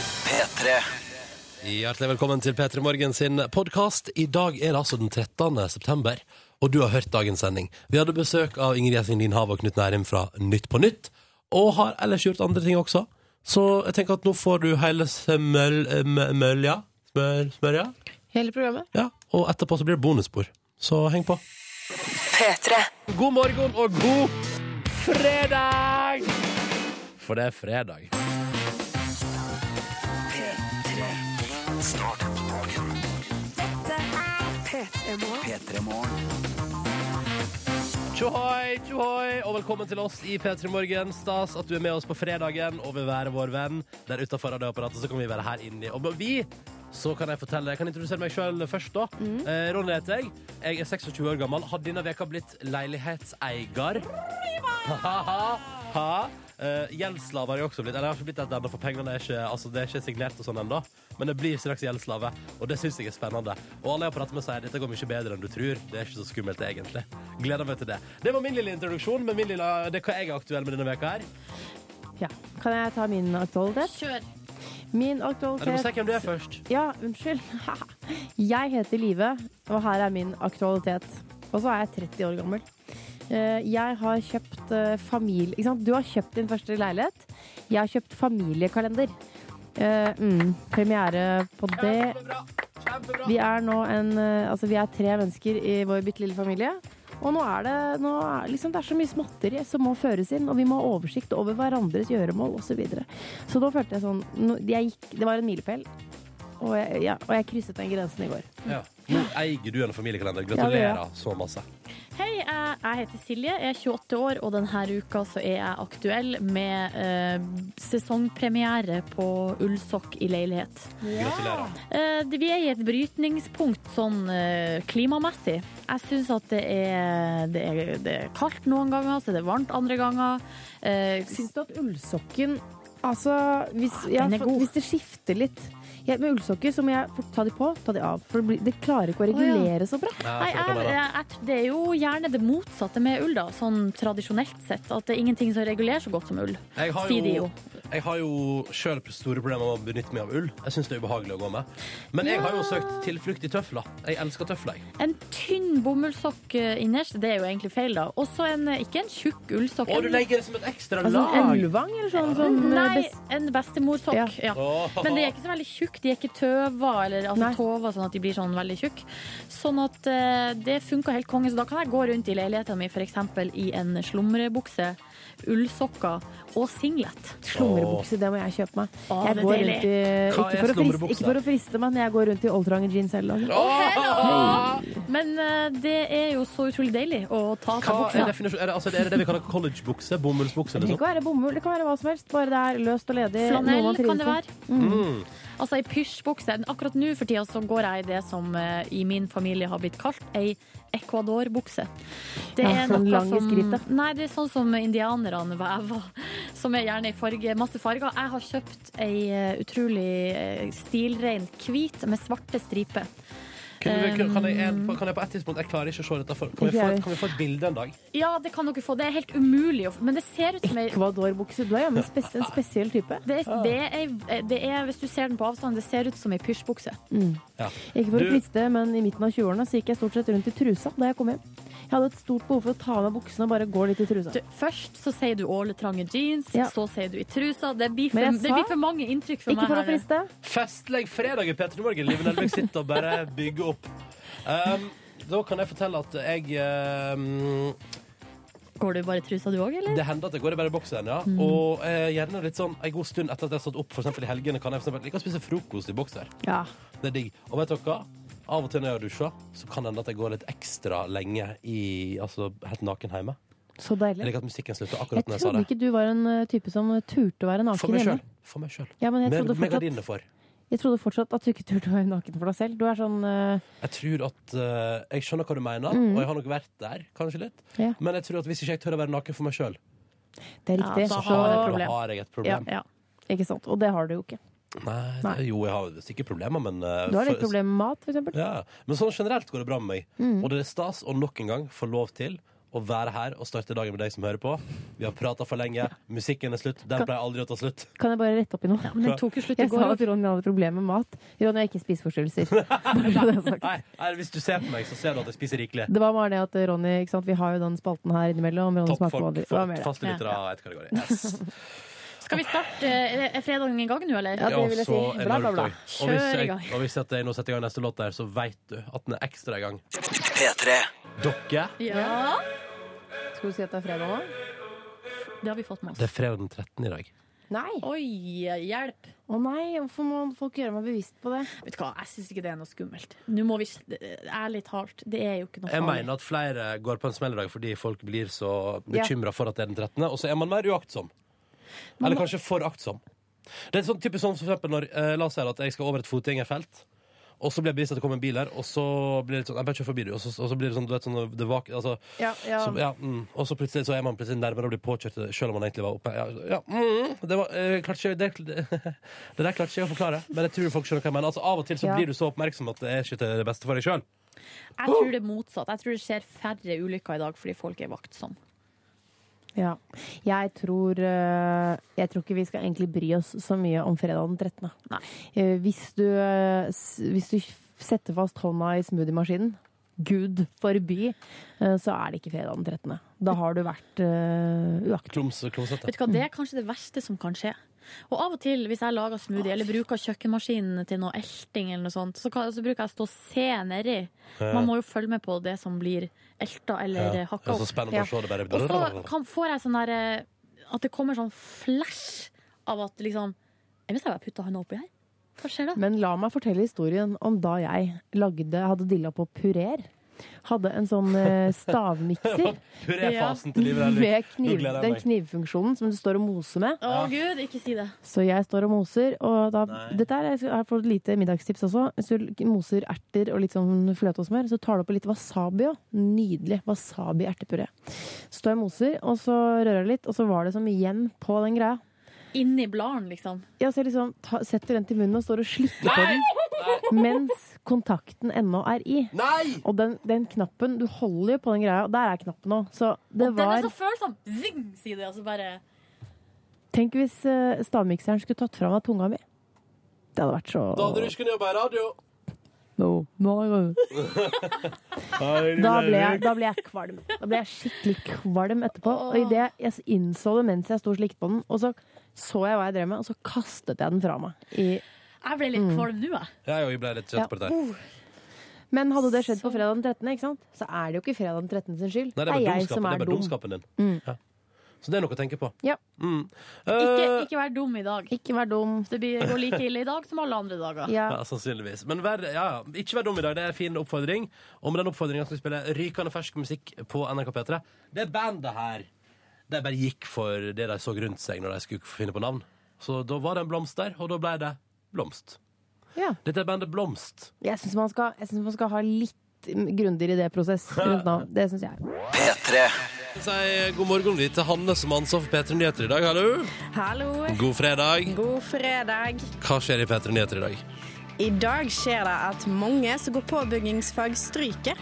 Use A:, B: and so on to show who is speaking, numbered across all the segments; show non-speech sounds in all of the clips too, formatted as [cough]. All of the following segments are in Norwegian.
A: P3.
B: Hjertelig velkommen til P3 Morgen sin podkast. I dag er det altså den 13. september, og du har hørt dagens sending. Vi hadde besøk av Ingrid Gjessing Lindhav og Knut Nærim fra Nytt på Nytt, og har ellers gjort andre ting også. Så jeg tenker at nå får du hele smøl... eh, mø- Mølja? Smør, smørja?
C: Hele programmet.
B: Ja. Og etterpå så blir det bonusspor. Så heng på.
D: P3.
B: God morgen og god fredag! For det er fredag.
A: P3 Morgen.
B: Tjohoi, tjohoi, og velkommen til oss i P3 Morgen. Stas at du er med oss på fredagen og vil være vår venn. Der utafor radioapparatet så kan vi være her inni. Og vi, så kan jeg fortelle Jeg kan introdusere meg sjøl først, da. Eh, Ronny heter jeg. Jeg er 26 år gammel. Har denne veka blitt leilighetseier. Ha-ha. Eh, Gjeldsslave har jeg også blitt. Eller jeg har ikke blitt det ennå, for pengene er ikke, altså, det er ikke signert og sånn ennå. Men jeg blir straks gjeldsslave, og det syns jeg er spennende. Og alle jeg prater med, sier dette går mye bedre enn du tror. Det er ikke så skummelt, egentlig. Gleder meg til det. Det var min lille introduksjon, men min lille, det er hva jeg er aktuell med denne veka her.
C: Ja. Kan jeg ta min aktualitet?
E: Kjør.
C: Min
B: Nei, Du må si
C: aktualitet
B: hvem du er først.
C: Ja, unnskyld. [laughs] Jeg heter Live, og her er min aktualitet. Og så er jeg 30 år gammel. Eh, Jeg har kjøpt eh, familie... Ikke sant? Du har kjøpt din første leilighet. Jeg har kjøpt familiekalender. Eh, mm, premiere på det.
B: Kjempebra! Kjempebra!
C: Vi er nå en eh, Altså, vi er tre mennesker i vår bitte lille familie. Og nå er det nå er, liksom, Det er så mye småtteri som må føres inn, og vi må ha oversikt over hverandres gjøremål osv. Så, videre. så da følte jeg sånn nå, jeg gikk, Det var en milepæl. Og jeg, ja, og jeg krysset den grensen i går.
B: Ja. Nå eier du en familiekalender.
C: Ja,
B: Gratulerer
C: det
B: så masse.
E: Hei, jeg, jeg heter Silje, jeg er 28 år, og denne uka så er jeg aktuell med eh, sesongpremiere på Ullsokk i leilighet.
B: Gratulerer.
E: Eh, det- vi er i et brytningspunkt sånn eh, klimamessig. Jeg syns at det er, det, er, det er kaldt noen ganger, så er det varmt andre ganger. Eh,
C: Syns du at ullsokken Altså, hvis, ja,
E: den er
C: for-
E: god.
C: hvis det skifter litt jeg, Med ullsokker så må jeg fort ta de på, ta de av. For det, blir, det klarer ikke å
E: ja.
C: regulere så bra.
B: Ja,
E: Nei,
B: jeg skjønner
E: jeg,
B: det.
E: jeg, tr- det er jo gjerne det motsatte med ull, da, sånn tradisjonelt sett. At det er ingenting som regulerer så godt som ull.
B: Jeg har
E: Sier de
B: jo,
E: jo.
B: jeg har jo sjøl store problemer med å benytte meg av ull. Jeg syns det er ubehagelig å gå med. Men jeg har jo søkt tilflukt i tøfler. Jeg elsker tøfler. jeg.
E: En tynn bomullssokk eh, innerst, det er jo egentlig feil, da. Og så en, eh, ikke en tjukk ullsokk.
B: Å, du
E: en-
B: legger det som et ekstra
C: Altså, en
B: lag!
C: ulvang eller sånn? sånn
E: Nei,
C: bes-
E: en bestemorsokk. Ja.
B: Åh.
E: Men de er ikke så veldig tjukke. De er ikke tøva, eller altså,
C: Nei.
E: tova, sånn at de blir sånn veldig tjukke. Sånn at eh, det funka helt konge. Så da kan jeg gå rundt i leiligheten min f.eks. i en slumrebukse, ullsokker og singlet.
C: Slumrebukse, det må jeg kjøpe meg.
E: Å,
C: Jeg
E: det er
C: går
E: deilig.
C: rundt i,
B: Hva
C: ikke,
B: er
C: for å friste,
B: slumrebukse?
C: ikke for å friste, men jeg går rundt i oldtrange jeans hele dagen.
B: Åh!
E: Men eh, det er jo så utrolig deilig å ta av
B: Hva
E: seg
B: er
E: buksa.
B: definisjonen? Er det, altså, er det det vi kaller collegebukse? Bomullsbukse? liksom? Eller
C: Det trenger
B: sånt?
C: ikke å være bomull, det kan være hva som helst. Bare det er løst og ledig. noe
E: Flanell
C: man
E: kan
C: trives
E: det
C: i.
E: være. Altså ei pysjbukse. Akkurat nå for tida så går jeg i det som eh, i min familie har blitt kalt ei Ecuador-bukse. Det
C: Ja, sånn lang i skrittet.
E: Nei, det er sånn som indianerne vever. Som er gjerne i farge, masse farger. Jeg har kjøpt ei eh, utrolig eh, stilrein hvit med svarte striper.
B: Kunne vi- Kan jeg, en, kan jeg på et tidspunkt Jeg klarer ikke å se dette for Kan vi få, et- kan vi få et bilde en dag?
E: Ja, det kan dere få. Det er helt umulig å få. Men det ser ut som ei
C: Ecuador-bukse. Du er jammen spes en spesiell type.
E: det er, det, er, det er, hvis du ser den på avstand, det ser ut som ei pysjbukse.
B: Ja.
C: Ikke for
B: Du-
C: å friste, men i midten av 20-årene så gikk jeg stort sett rundt i trusa da jeg kom hjem. Jeg hadde et stort behov for å ta av meg buksene og bare gå litt i trusa.
E: Du, først så sier du åletrange jeans,
C: Ja.
E: så sier du i trusa. Det blir for,
C: Men jeg
E: det
C: sa-
E: blir for mange inntrykk for
C: ikke
E: meg
C: for å
E: her.
C: friste.
B: Festlig fredag i P3 Morgen. Liven Elvik sitter og bare bygger opp. Um, da kan jeg fortelle at jeg um,
E: Går du bare i trusa du òg, eller?
B: Det hender at jeg går i bare boksen, ja.
C: Mm.
B: Og eh, gjerne litt sånn en god stund etter at jeg har stått opp, for eksempel i helgene, kan jeg for eksempel like å spise frokost i bokser.
C: Ja.
B: Det er digg. Og vet dere hva? Av og til når jeg har dusja, så kan det hende at jeg går litt ekstra lenge i Altså helt naken hjemme.
C: Så
B: Jeg
C: deilig.
B: liker at musikken slutter
C: Jeg
B: akkurat når jeg sa
C: trodde
B: det.
C: ikke du var en eh, type som turte å være
B: For
C: naken
B: meg
C: hjemme.
B: sjøl. For meg sjøl.
C: Ja, men jeg
B: Med,
C: trodde
B: med
C: fortsatt-
B: gardinene for.
C: Jeg trodde fortsatt at du ikke turte å være naken for deg selv. Du er sånn eh,
B: Jeg tror at eh, Jeg skjønner hva du mener, og jeg har nok vært der, kanskje litt.
C: Mm. Ja.
B: Men jeg tror at hvis ikke jeg tør å være naken for meg sjøl,
C: Det er
E: Ja,
C: riktig.
E: da
B: så
E: har du et
C: så,
E: problem.
B: har jeg et problem.
E: Ja.
C: ikke sant? Og det har du jo ikke.
B: Nei, det,
C: Nei.
B: jo, jeg har visst ikke problemer, men eh,
C: Du har litt
B: for-
C: problemer med mat, for eksempel. Mm.
B: Ja, Men sånn generelt går det bra med meg. Og det er stas å nok en gang få lov til å være her og starte dagen med deg som hører på. Vi har prata for lenge. Musikken er slutt. Den pleier aldri å ta slutt.
C: Kan jeg bare rette opp i noe?
E: Men den tok jo slutt
C: [laughs]
E: i
C: Jeg sa
E: går.
C: at Ronny hadde problemer med mat. Ronny har ikke
B: [laughs]
C: spiseforstyrrelser. Bare så det er sagt.
B: Nei, nei, hvis du ser på meg, så ser du at jeg spiser rikelig.
C: Det var bare det at Ronny ikke sant? Vi har jo den spalten her innimellom. Ronny
B: Topp
C: smaker på
B: folk.
C: andre. Det var mer det.
B: Faste lyttere av ett kategori.
C: [laughs]
B: Yes.
E: Skal vi starte eh, er fredagen i gang nå, eller?
C: Ja, det vil jeg si.
B: så er det
C: Bla, bla, bla.
B: dag. Og hvis
E: Kjør i
B: jeg,
E: gang.
B: og hvis jeg setter- nå setter jeg i gang neste låt der, så vet du at den er ekstra i gang.
F: P3.
B: Dere,
E: Ja.
C: Skal du si at det er fredag nå?
E: Det har vi fått med
B: det
E: oss.
B: er fredag den 13. i dag.
C: Nei. Å
E: Oi, hjelp.
C: nei, hvorfor må folk gjøre meg bevisst på det?
E: Vet du hva, jeg syns ikke det er noe skummelt. Nå må vi Ærlig talt, det er jo ikke noe
B: Jeg
E: farlig.
B: mener at flere går på en smell i dag fordi folk blir så
C: Ja.
B: bekymra for at det er den 13., og så er man mer uaktsom. Eller kanskje for aktsom. Det er sånn typisk sånn som for eksempel når eh, La oss si at jeg skal over et fotgjengerfelt. Og så blir jeg bevisst at det kommer en bil her, og så blir det sånn Jeg bør ikke forbi det, og så, og så blir det sånn, du vet, sånn det vak, altså,
C: Ja, ja.
B: Så, ja, mm. Og så plutselig så er man plutselig nærmere å bli påkjørt, selv om man egentlig var oppe. Ja, ja, mm, det, var, eh, klarte ikke, det, [laughs] det der klarte ikke jeg å forklare, men jeg tror folk skjønner hva jeg mener. Altså, av og til så
C: Ja.
B: blir du så oppmerksom at det er ikke til det beste for deg sjøl.
E: Jeg tror det er motsatt. Jeg tror det skjer færre ulykker i dag fordi folk er vaktsomme.
C: Ja. Jeg tror, eh, jeg tror ikke vi skal egentlig bry oss så mye om fredag den 13.
E: Nei.
C: Eh, Hvis du, eh, s- hvis du f- setter fast hånda i smoothiemaskinen, gud forby, eh, så er det ikke fredag den 13. Da har du vært eh, uaktiv.
B: Klums, klumsete.
E: Vet du hva, Det er kanskje det verste som kan skje. Og av og til, hvis jeg lager smoothie eller bruker kjøkkenmaskinen til noe elting, eller noe sånt, så, kan, så bruker jeg å stå og se nedi. Man må jo følge med på det som blir elta eller ja.
B: Det
E: hakka
B: er så
E: opp.
B: spennende
C: Ja.
B: å se det
E: Og så
B: bare
E: kan, får jeg sånn der eh, At det kommer sånn flash av at liksom Jeg hvis jeg bare putta hånda oppi her. Hva skjer da?
C: Men la meg fortelle historien om da jeg lagde, hadde dilla på purer. Hadde en sånn eh, stavmikser
B: Puréfasen til livet der.
C: med
B: Nå
C: kniv,
B: gleder jeg
C: den
B: meg.
C: knivfunksjonen som du står og moser med.
E: Å gud, ikke si det.
C: Så jeg står og moser, og da,
B: Nei.
C: dette er, jeg har fått lite middagstips også. Hvis du moser erter og litt sånn fløte og smør, så tar du oppi litt wasabi òg. Nydelig wasabi-ertepuré. Så står jeg og moser, og så rører jeg litt, og så var det som igjen på den greia.
E: Inni bladen, liksom.
C: Ja, så jeg liksom ta, setter den til munnen og står og slikker på den mens kontakten ennå er i.
B: Nei!
C: Og den, den knappen Du holder jo på den greia, og der er knappen òg. Så det
E: Og Den
C: var
E: er så følsom! Zing, sier det. Altså bare
C: Tenk hvis eh, stavmikseren skulle tatt fra meg tunga mi. Det hadde vært så
B: Da hadde du ikke kunnet jobbe i radio.
C: No, no. Da ble, jeg, da ble jeg kvalm. Da ble jeg skikkelig kvalm etterpå. Og i det jeg innså det mens jeg sto og slikket på den, og så så jeg hva jeg drev med, og så kastet jeg den fra meg. I,
E: Jeg ble
C: Mm.
E: litt kvalm nå, jeg.
B: Ja, jo, jeg ble litt kjent på dette. her.
E: Oh.
C: men hadde det skjedd på fredag den 13., ikke sant? så er det jo ikke fredag den 13. sin skyld.
B: Nei, det
C: er
B: er bare
C: jeg som
B: dumskapen, det er
C: er
B: bare
C: dum.
B: dumskapen din. Ja. Så det er noe å tenke på.
C: Ja.
B: Mm.
E: Ikke,
B: Eh,
E: ikke vær dum i dag.
C: Ikke vær dum.
E: Det blir- går like ille i dag som alle andre dager.
C: Ja.
B: Ja, sannsynligvis. Men vær, ja, ja. ikke vær dum i dag. Det er en fin oppfordring. Og med den oppfordringa skal vi spille rykende fersk musikk på NRK P3. Det bandet her De bare gikk for det de så rundt seg når de skulle finne på navn. Så da var det en blomst der, og da ble det Blomst.
C: Ja.
B: Dette er bandet Blomst.
C: Jeg syns man, skal- jeg synes man skal ha litt grundigere idéprosess rundt navn. Det syns jeg.
F: P3.
B: Si god morgen vi, til Hanne som har ansvar for P3 Nyheter i dag. Hallo!
G: Hallo.
B: God fredag.
G: God fredag.
B: Hva skjer i P3 Nyheter i dag?
G: I dag skjer det at mange som går påbyggingsfag, stryker.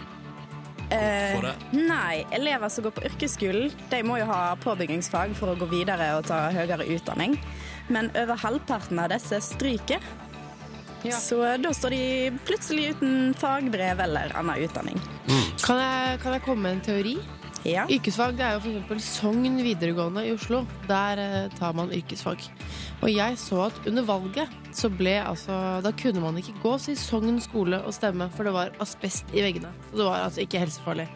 G: Eh,
B: For det.
G: nei, elever som går på yrkesskolen, de må jo ha påbyggingsfag for å gå videre og ta høyere utdanning. Men over halvparten av disse stryker. Så da står de plutselig uten fagbrev eller annen utdanning.
H: Kan jeg, kan jeg komme med en teori?
G: Ja.
H: Yrkesfag det er jo f.eks. Sogn videregående i Oslo. Der eh, tar man yrkesfag. Og jeg så at under valget så ble altså Da kunne man ikke gå til Sogn skole og stemme, for det var asbest i veggene. Og det var altså ikke helsefarlig.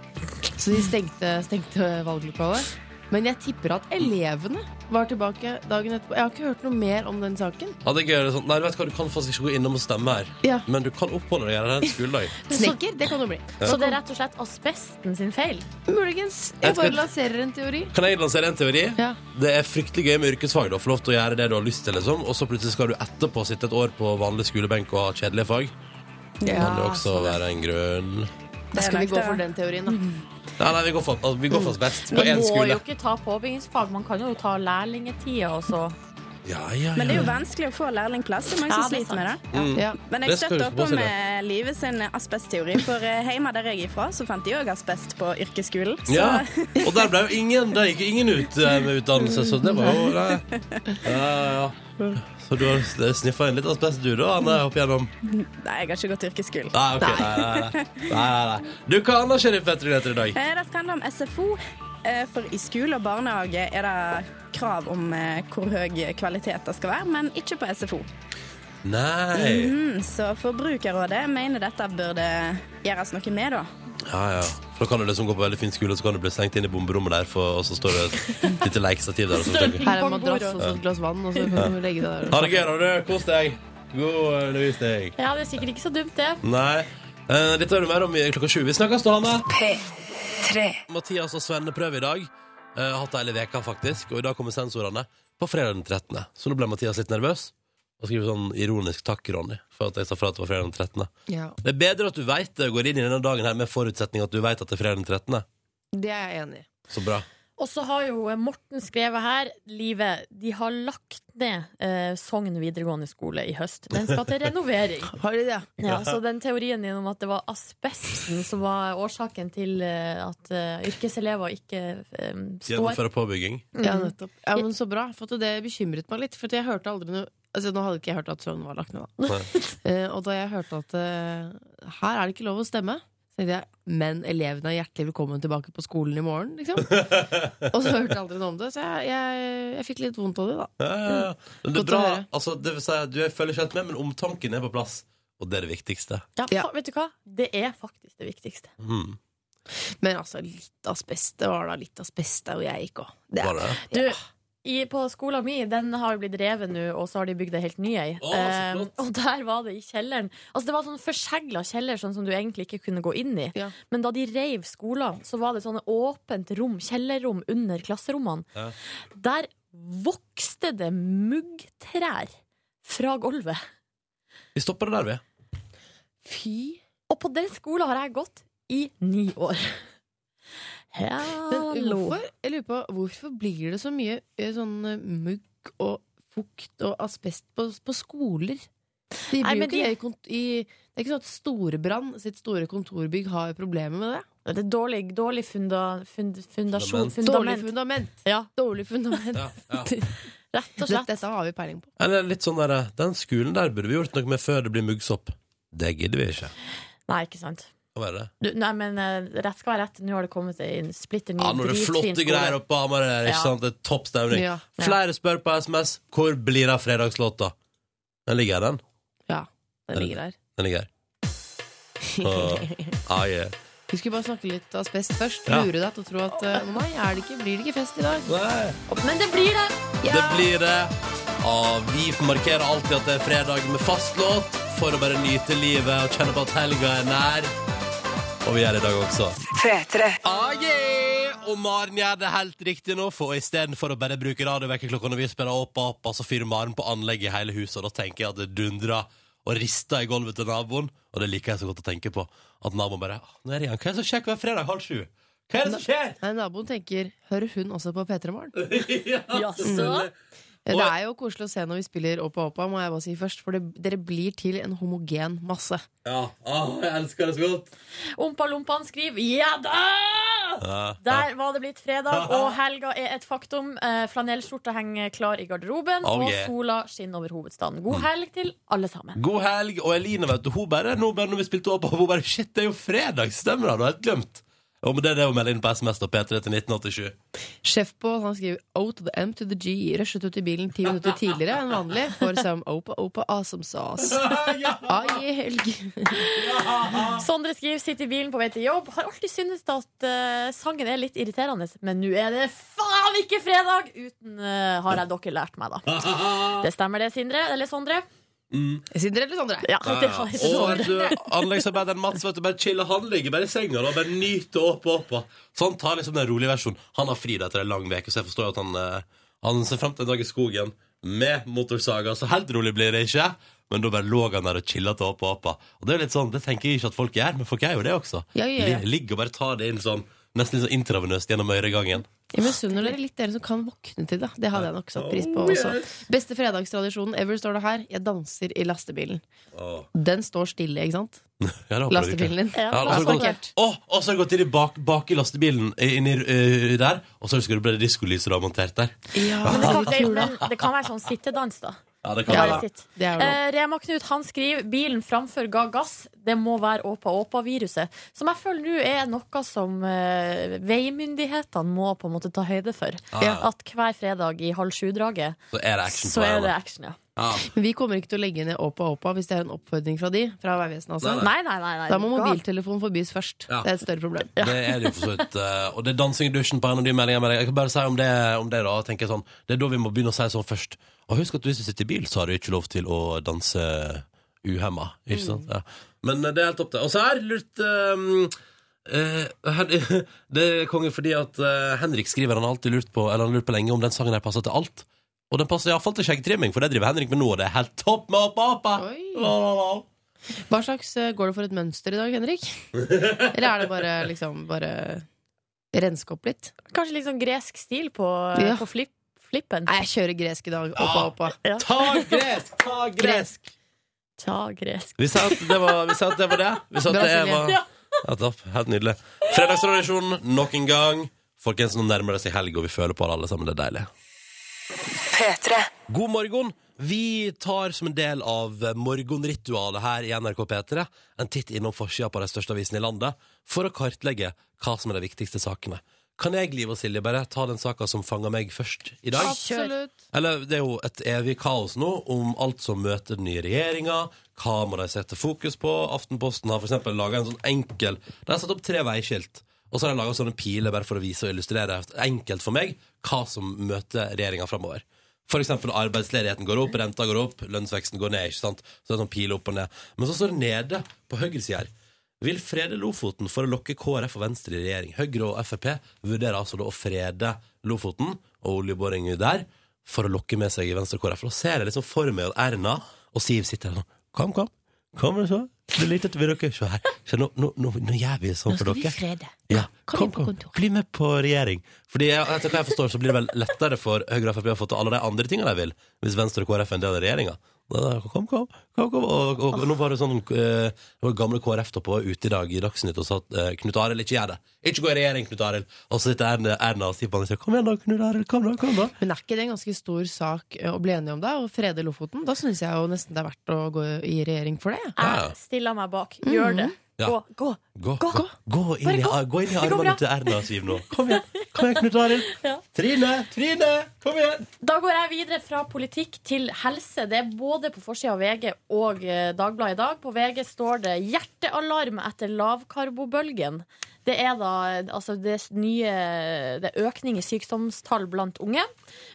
H: Så de stengte, stengte valglokalet. Men jeg tipper at elevene var tilbake dagen etterpå. Jeg har ikke hørt noe mer om den saken.
B: Ja, det er gøy, det er sånn. Nei, du vet hva, du kan faktisk ikke gå innom og stemme her,
H: Ja.
B: men du kan oppholde deg her en skoledag.
C: [laughs]
H: Snekker, det kan du bli.
E: Så det er rett og slett asbesten sin feil.
H: Muligens.
B: Jeg
H: Jeg
B: skal-
H: bare lanserer en teori.
B: Kan jeg lansere en teori?
H: Ja.
B: Det er fryktelig gøy med yrkesfag. Da. Få lov til å gjøre det du har lyst til, liksom. Og så plutselig skal du etterpå sitte et år på vanlig skolebenk og ha kjedelige fag. Kan det også være en grunn Nei,
H: Da skal vi
G: Det er
H: gå
G: nok
H: for
G: det.
H: den teorien, da.
B: nei, vi går fast, altså, vi går fast best på
E: Man
B: én
E: må jo
B: skole.
E: ikke ta påbyggingsfag. Man kan jo ta lærlingetida og så
B: Ja, ja,
G: Men det er
B: ja.
G: jo vanskelig å få lærlingplass. Det er mange
E: Ja,
G: som
E: det er
G: sliter med det.
B: Mm.
C: Ja.
G: Men
B: Det
G: jeg
B: skal
G: støtter
B: du
G: opp
B: ikke
G: om
B: påstå det.
G: eh, Live sin asbestteori, for eh, hjemme der jeg er ifra, så fant de òg asbest på yrkesskolen. Så
B: Ja, og der ble jo ingen Der gikk jo ingen ut eh, med utdannelse, så det var jo nei. Ja, ja, ja. Så du har sniffa inn litt asbest, du, da, Anne, opp igjennom?
G: nei, jeg har ikke gått yrkesskolen.
B: Nei, ok, nei, nei, nei. nei, nei, nei. Du, hva annet skjer i P3 Nyheter i dag?
G: Eh, Det skal handle om SFO, eh, for i skole og barnehage er det krav om eh, hvor høy kvalitet det skal være, men ikke på SFO.
B: Nei.
G: Mm, Så Forbrukerrådet mener dette burde gjøres noe med, da.
B: Ja, ja. For da kan du liksom gå på veldig fin skole, og så kan du bli slengt inn i bomberommet der, for, og så står det et lite lekestativ der. Og så tenker,
C: Her er en madrass og så et glass vann, og så kan du legge deg
B: ha
C: der.
B: det gøy, da, du. Kos deg. God eh, undervisning.
E: Ja, det er sikkert ikke så dumt, det.
B: Nei. Eh, Dette hører du mer om i klokka 20. Vi snakkes, da, Hanne.
I: P3.
B: Mathias og Svenne prøver i dag. Eh, har hatt det hele veka faktisk. Og i dag kommer sensorene på fredag den 13. Så nå ble Mathias litt nervøs. Og skriver sånn ironisk takk, Ronny, for at jeg sa fra at det var fredag den 13.
C: Ja.
B: Det er bedre at du veit det og går inn i denne dagen her med forutsetning at du veit at det er fredag den 13.
C: Det er jeg enig i.
B: Så bra.
E: Og så har jo Morten skrevet her Live, de har lagt ned eh, Sogn videregående skole i høst. Den skal til renovering.
C: Har de det?
E: [laughs] Ja, så den teorien din om at det var asbesten som var årsaken til eh, at eh, yrkeselever ikke eh, står
B: Gjennomføre påbygging.
C: Ja, nettopp. Ja, men så bra. For at det bekymret meg litt. For at jeg hørte aldri noe Altså, nå hadde ikke jeg hørt at Sogn var lagt ned, da. [laughs] Eh, og da jeg hørte at eh, her er det ikke lov å stemme, så tenkte jeg men elevene er hjertelig velkommen tilbake på skolen i morgen. [laughs] Liksom. og så hørte jeg aldri noe om det, så jeg, jeg, jeg fikk litt vondt av det, da.
B: Ja, ja, ja. Men det er
C: Godt å
B: bra.
C: høre.
B: Altså, det vil si, du jeg følger ikke helt med, men omtanken er på plass. Og det er det viktigste.
E: ja,
C: Ja.
E: fa- Vet du hva? Det er faktisk det viktigste.
B: Mm.
C: Men altså, litt asbest det var da litt asbest der hvor jeg gikk òg. Det
B: Var det?
E: Du, i, på skolen min, den har jo blitt revet nå, og så har de bygd ei helt ny ei.
B: Å, så flott.
E: og der var det i kjelleren. Altså, det var sånn forsegla kjeller, sånn som du egentlig ikke kunne gå inn i.
C: Ja.
E: Men da de reiv skolen, så var det sånne åpent rom, kjellerrom under klasserommene.
B: Ja.
E: Der vokste det muggtrær fra gulvet.
B: Vi stopper det der, vi.
C: Fy.
E: Og på den skolen har jeg gått i ni år.
C: Men
E: Hallo.
C: hvorfor, jeg lurer på, hvorfor blir det så mye eh, sånn eh, mugg og fukt og asbest på, på skoler? De blir
E: Nei,
C: jo
E: men
C: ikke det i, kont- i, det er ikke sånn at Storebrand sitt store kontorbygg har problemer med det.
E: Det er dårlig, dårlig funda, fund, fundasjon.
B: Fundament.
C: Dårlig
E: Fundament.
C: fundament!
E: Ja,
C: Dårlig fundament.
B: Ja, ja.
E: rett og
C: Dette,
E: slett.
C: dette har vi peiling på.
B: Eller litt sånn der, Den skolen der burde vi gjort noe med før det blir muggsopp. Det gidder vi ikke.
E: Nei, ikke sant.
B: Hva er det?
E: Du, nei, men eh, rett skal være rett. Nå har det kommet en splitter ny,
B: Ja, nå er det
E: dritfin
B: flotte
E: Mm, skole.
B: greier oppe på Hamar. her, Ikke
E: Ja.
B: sant? Det er topp stemning.
C: Ja.
B: Flere spør på SMS hvor blir det av fredagslåta. Den ligger her, den.
C: Ja, den ligger der.
B: Den ligger her. Og- Ah, yeah.
C: Vi skulle bare snakke litt asbest først.
B: Ja.
C: Lure deg til å tro at eh, nei, er det ikke, blir det ikke fest i dag?
B: Nei.
E: Men det blir det!
B: Det blir det. Og vi markerer alltid at det er fredag med fast låt for å bare nyte livet og kjenne på at helga er nær. Og vi gjør det i dag også.
I: P3.
B: Ah, yeah! Og Maren gjør det helt riktig nå, for istedenfor å bare bruke radiovekkerklokka når vi spiller opp og opp, så fyrer Maren på anlegget i hele huset, og da tenker jeg at det dundrer og rister i gulvet til naboen, og det liker jeg så godt å tenke på. At naboen bare «Ah, Nå er det igjen. Hva er det som skjer hver fredag halv sju? Hva er det som skjer? [laughs]
C: Nei, naboen tenker hører hun også på P3 Morgen?
E: Jaså?
C: Det
B: Og-
C: er jo koselig å se når vi spiller Åpa Åpa, må jeg bare si først. For det, dere blir til en homogen masse.
B: Ja, ah, jeg elsker det så godt.
E: Ompa-lompan skriver ja da!
B: Ja,
E: Der var det blitt
B: [laughs]
E: fredag, og helga er et faktum. Eh, Flanellskjorta henger klar i garderoben,
B: Oh, yeah. Mm.
E: og sola skinner over hovedstaden. God helg til alle sammen.
B: God helg, og Eline vet du, hun bare, nå bare når vi spilte opp, hun bare, shit, det er jo fredag, stemmer det, du har helt glemt. Og med det er det hun melder inn på sms da, P3 til 1987.
C: Sjef Pål han skriver O to the M to the G. Rushet ut i bilen ti minutter tidligere enn vanlig for some Opa Opa awesome sauce. Ai, helg.
B: Mm.
E: Sondre skriver sitter i bilen på vei til jobb. Har alltid syntes at eh, sangen er litt irriterende, men nå er det faen ikke fredag! Uten eh, har jeg dere lært meg, da. Det stemmer det, Sindre? Eller Sondre?
C: Sindre eller Sondre?
E: Ja, [laughs] det har jeg
B: Og vet
E: Sondre.
B: du, anleggsarbeideren Mats, vet du, bare chiller, han ligger bare i senga da, bare nyter opp og opp. og- Så han tar liksom den rolige versjonen. Han har fri da etter en lang vek, så jeg forstår jo at han, eh, han ser frem til en dag i skogen med motorsaga, så helt rolig blir det ikke. Men da bare lå han der og chillet til opp og opp. Og det er jo litt sånn, det tenker jeg ikke at folk gjør, men folk gjør jo det også.
C: Ja, ja, ja.
B: Li- Ligger og bare tar det inn sånn, Nesten litt sånn intravenøst gjennom øregangen.
C: Jeg misunner dere litt, dere som kan våkne til det. Det hadde jeg nok satt pris
B: Oh,
C: på også. Beste fredagstradisjonen ever står det her. Jeg danser i lastebilen.
B: Åh.
C: Den står stille, ikke sant?
B: Ja, det håper jeg du ikke.
C: Lastebilen din.
E: Ja,
B: Ja, altså, og så har du gått- Åh, og så har du gått inn i bak, bak i lastebilen eh, inn i, eh, der, og så husker du bare diskolyset du har montert der.
E: Men det, kan, det, men det kan være sånn sittedans, da.
B: Ja, det kan
E: Bare
B: være.
E: sitt.
C: Det er jo lov.
E: Eh, Rema-Knut han skriver bilen framfor ga gass. Det må være åpa-åpa-viruset. Som jeg føler nå er noe som eh, veimyndighetene må på en måte ta høyde for.
B: Ja.
E: At hver fredag i halv sju-draget
B: Så er det action på
E: så er det
B: veien.
E: action, ja.
B: Ja.
C: Men vi kommer ikke til å legge ned Åpa Åpa hvis det er en oppfordring fra de, fra Vegvesenet altså.
B: Nei,
E: Nei, nei, nei. nei.
C: Da må
E: Gal.
C: mobiltelefon forbys først.
B: Ja.
C: Det er et større problem.
B: Det er det jo for så vidt. eh, Og det er dansing i dusjen på en av de meldingene. men Jeg kan bare si om det, om det da, tenker jeg sånn, det er da vi må begynne å si sånn først. Og husk at hvis du sitter i bil, så har du ikke lov til å danse uhemma. Ikke sant? Ja. Men eh, det er helt topp, det. Og så her lurt eh, eh, her- [laughs] Det er konge fordi at eh, Henrik skriver han har alltid lurt på Eller han har lurt på lenge om den sangen her passer til alt. Og den passer iallfall til skjeggtrimming, for det driver Henrik med nå. Og det er helt topp med opp, opp, opp.
C: Oi.
B: La, la, la.
C: Hva slags eh, Går det for et mønster i dag, Henrik? Eller er det bare liksom bare renske opp litt?
E: Kanskje litt sånn gresk stil på,
C: Ja.
E: på flipp, flippen.
C: Nei, jeg kjører gresk i dag. Oppa,
B: Ja.
C: oppa.
E: Ja.
B: Ta gresk! Ta gresk!
E: Ta gresk.
B: Vi sa at det var vi sa at det. Var det. Vi sa at det
C: Brasilia.
B: var ja, topp. Helt nydelig. Fredagstradisjonen nok en gang. Folkens, nå nærmer det seg helg, og vi føler på det alle sammen. Det er deilig.
I: P3.
B: God morgen. Vi tar som en del av morgenritualet her i NRK P3 en titt innom forsida på de største avisene i landet for å kartlegge hva som er de viktigste sakene. Kan jeg, Liv og Silje, bare ta den saka som fanga meg først i dag?
C: Absolutt.
B: Eller det er jo et evig kaos nå om alt som møter den nye regjeringa. Hva må de sette fokus på? Aftenposten har f.eks. laga en sånn enkel De har satt opp tre veiskilt. Og så har de laga sånne piler bare for å vise og illustrere enkelt for meg hva som møter regjeringa framover. F.eks. arbeidsledigheten går opp, renta går opp, lønnsveksten går ned. ikke sant? Så det er sånn pil opp og ned. Men så står det nede på høyresida her vil frede Lofoten for å lokke KrF og Venstre i regjering. Høyre og Frp vurderer altså da å frede Lofoten og oljeboring der for å lokke med seg Venstre og KrF. Da ser jeg liksom for meg at Erna og Siv sitter der sånn Kom, kom. Kom, du så. Det er lite til dere. Se her. Se, nå, nå, nå, nå gjør vi sånn for dere.
E: frede.
B: Ja,
E: Kom
B: kom,
E: inn på
B: kom.
E: kontoret.
B: Bli med på regjering. Fordi jeg, etter hva jeg forstår, så blir det vel lettere for Høyre og Frp å få til alle de andre tingene de vil, hvis Venstre og KrF er en del av regjeringa. Da- da- Kom, kom, kom, kom. Og, og, og nå var det sånn eh, det var gamle KrF-topper var ute i dag i Dagsnytt og sa at eh, Knut Arild, ikke gjør det. Ikke gå i regjering, Knut Arild. Og så sitter Erna, Erna og sier på andre siden Kom igjen da, Knut Arild. Kom da, kom da.
C: Men er ikke det en ganske stor sak eh, å bli enige om det, å frede Lofoten? Da syns jeg jo nesten det er verdt å gå i regjering for det.
B: Ja.
E: Jeg stiller meg bak.
C: Mm.
E: Gjør det.
B: Ja.
E: Gå, gå.
B: Gå,
E: Gå,
B: gå, gå, inn,
E: Bare
B: i,
E: gå.
B: gå inn i
E: Det går bra.
B: armene til Erna og Siv nå.
E: [laughs]
B: Kom igjen, kom igjen Knut Arild.
E: Ja.
B: Trine, Trine, kom igjen.
E: Da går jeg videre fra politikk til helse. Det er både på forsida av VG og eh, Dagbladet i dag. På VG står det 'Hjertealarm etter lavkarbobølgen'. Det er da eh, altså det s- nye Det er økning i sykdomstall blant unge.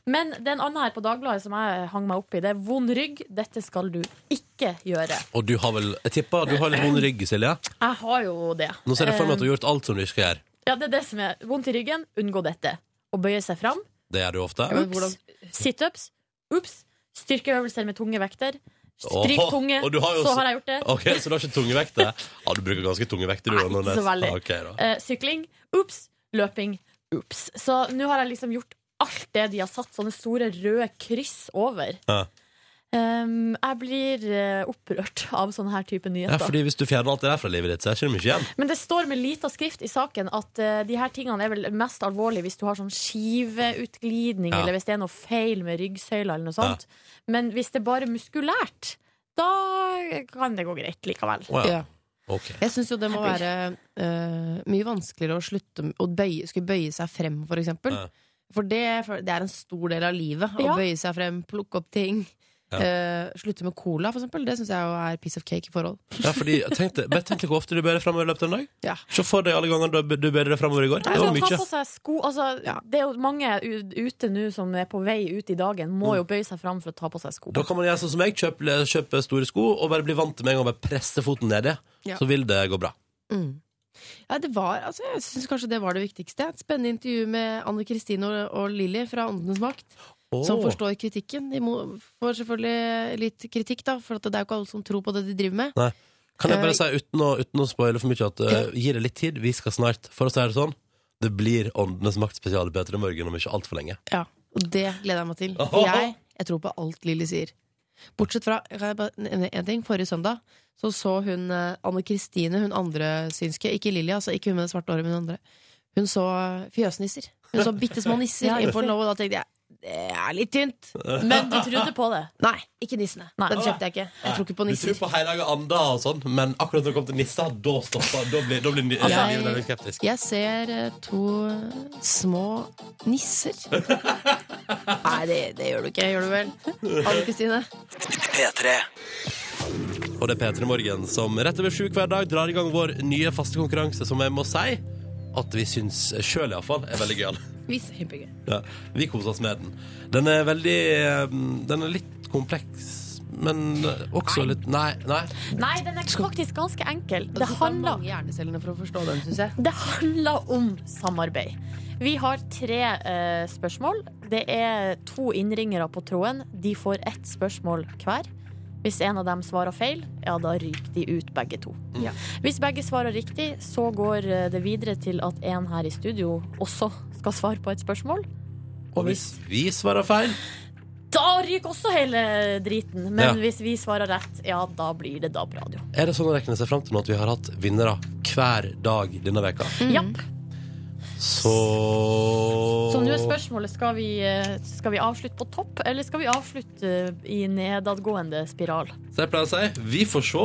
E: Men det er en annen her på Dagbladet som jeg hang meg opp i. Det er 'vond rygg'. Dette skal du ikke gjøre.
B: Og du har vel, jeg tipper, du har
E: [clears throat]
B: litt vond rygg, Silje.
E: Jeg har jo det.
B: Nå ser jeg for meg
E: Eh,
B: at du har gjort alt som du ikke skal gjøre.
E: Ja, det er det som er vondt i ryggen. Unngå dette. Å bøye seg fram.
B: Det gjør du ofte.
C: Men
E: Ups. Situps. Ups. Styrkeøvelser med tunge vekter. Stryk
B: Åhå,
E: tunge.
B: og du har jo
E: så
B: også-
E: har jeg gjort det.
B: Ok, Så du har ikke tunge vekter? Ja, du bruker ganske tunge vekter, du.
E: Nei,
B: Anders.
E: ikke så veldig.
B: Ja, ok, da.
E: Eh, sykling. Ups. Løping. Ups. Så nå har jeg liksom gjort alt det de har satt sånne store røde kryss over.
B: Ja.
E: Ehm, jeg blir eh, opprørt av sånne her type nyheter.
B: Ja, fordi Hvis du fjerner alt det der fra livet ditt, så er det ikke mye igjen.
E: Men det står med lita skrift i saken at eh, de her tingene er vel mest alvorlig hvis du har sånn skiveutglidning,
B: Ja.
E: eller hvis det er noe feil med ryggsøyla, eller noe sånt. Men hvis det er bare muskulært, da kan det gå greit likevel.
B: Å, ja.
C: Ja.
B: Ok.
C: Jeg syns jo det må være eh, mye vanskeligere å slutte med- å bøye, skulle bøye seg frem, for eksempel.
B: Ja.
C: For det, for det er en stor del av livet.
E: Ja.
C: Å bøye seg frem, plukke opp ting.
B: Ja.
C: eh, slutte med cola, for eksempel. Det syns jeg jo er piece of cake i forhold.
B: Ja, fordi, tenk deg, bare tenk deg hvor ofte du bøyer deg framover i løpet av en dag.
C: Ja.
B: Se for deg alle ganger du du bøyde deg framover i går. Det var
E: Altså, ta
B: mye.
E: på seg sko altså,
C: Ja.
E: Det er jo mange u- ute nå som er på vei ut i dagen, må
B: Mm.
E: jo bøye seg fram for å ta på seg sko.
B: Da kan man gjøre sånn som jeg, kjøpe, kjøpe store sko og bare bli vant til med en gang å bare presse foten nedi.
C: Ja.
B: Så vil det gå bra.
C: Mm. Ja, det var, altså, jeg syns kanskje det var det viktigste. Et spennende intervju med Anne Kristine og, og Lilly fra Åndenes makt,
B: Åh.
E: Sånn
C: som forstår kritikken. De må, får selvfølgelig litt kritikk, da, for at det er jo ikke alle som tror på det de driver med.
B: Kan jeg
C: Eh,
B: eh, bare si uten å, uten å spoile for mye at uh, gi det litt tid, vi skal snart, for å si det sånn, Det blir Åndenes maktspesial i P3 Morgen om ikke altfor lenge.
C: Ja, og det gleder jeg meg til.
B: [laughs]
C: For jeg, jeg tror på alt Lilly sier. Bortsett fra kan jeg bare nevne en ting. Forrige søndag så, så hun eh, Anne Kristine, hun andre synske. Ikke Lilly, altså. Ikke hun med det svarte håret, men hun andre. Hun så eh, fjøsnisser. Hun så bitte
B: [laughs]
C: små nisser
E: Ja,
C: inn på en lov, og da tenkte jeg det er litt tynt.
E: Men du trodde på det.
C: Nei, ikke nissene. Den kjøpte jeg ikke. Jeg tror ikke på
B: Du tror
C: nisser.
B: på hellige ander og sånn, men akkurat når det kommer til nisser, da stopper Da blir, da blir ni-
C: Altså,
B: livet der litt skeptisk.
C: Jeg ser eh, to eh, små
B: [laughs]
C: nisser. Nei, det, det gjør du ikke. Gjør du vel? Anne Kristine?
I: P3.
B: Og det er P3 Morgen som rett over sju hver dag drar i gang vår nye faste konkurranse, som jeg må si at vi syns sjøl iallfall er veldig [laughs] gøyal.
C: Vis kjempegøy.
B: Ja, vi koser oss med den. Den er veldig eh, Den er litt kompleks, men også litt Nei. nei.
E: Nei, den er faktisk ganske enkel.
C: Det
E: Det
C: handler
E: handler
C: mange hjernecellene for å forstå den, syns jeg.
E: Det handler om samarbeid. Vi har tre eh, spørsmål. Det er to innringere på tråden. De får ett spørsmål hver. Hvis en av dem svarer feil, ja, da ryker de ut begge to.
C: Ja.
E: Hvis begge svarer riktig, så går eh, det videre til at en her i studio også skal svare på et spørsmål.
B: Og hvis vi svarer feil
E: Da ryker også hele driten. Men
B: Ja.
E: hvis vi svarer rett, ja, da blir det DAB-radio.
B: Er det sånn å regne seg fram til nå at vi har hatt vinnere hver dag denne veka?
E: Japp.
B: Så
E: Så nå er spørsmålet skal vi, eh, skal vi avslutte på topp, eller skal vi avslutte eh, i nedadgående spiral?
B: Så jeg pleier å si vi får se.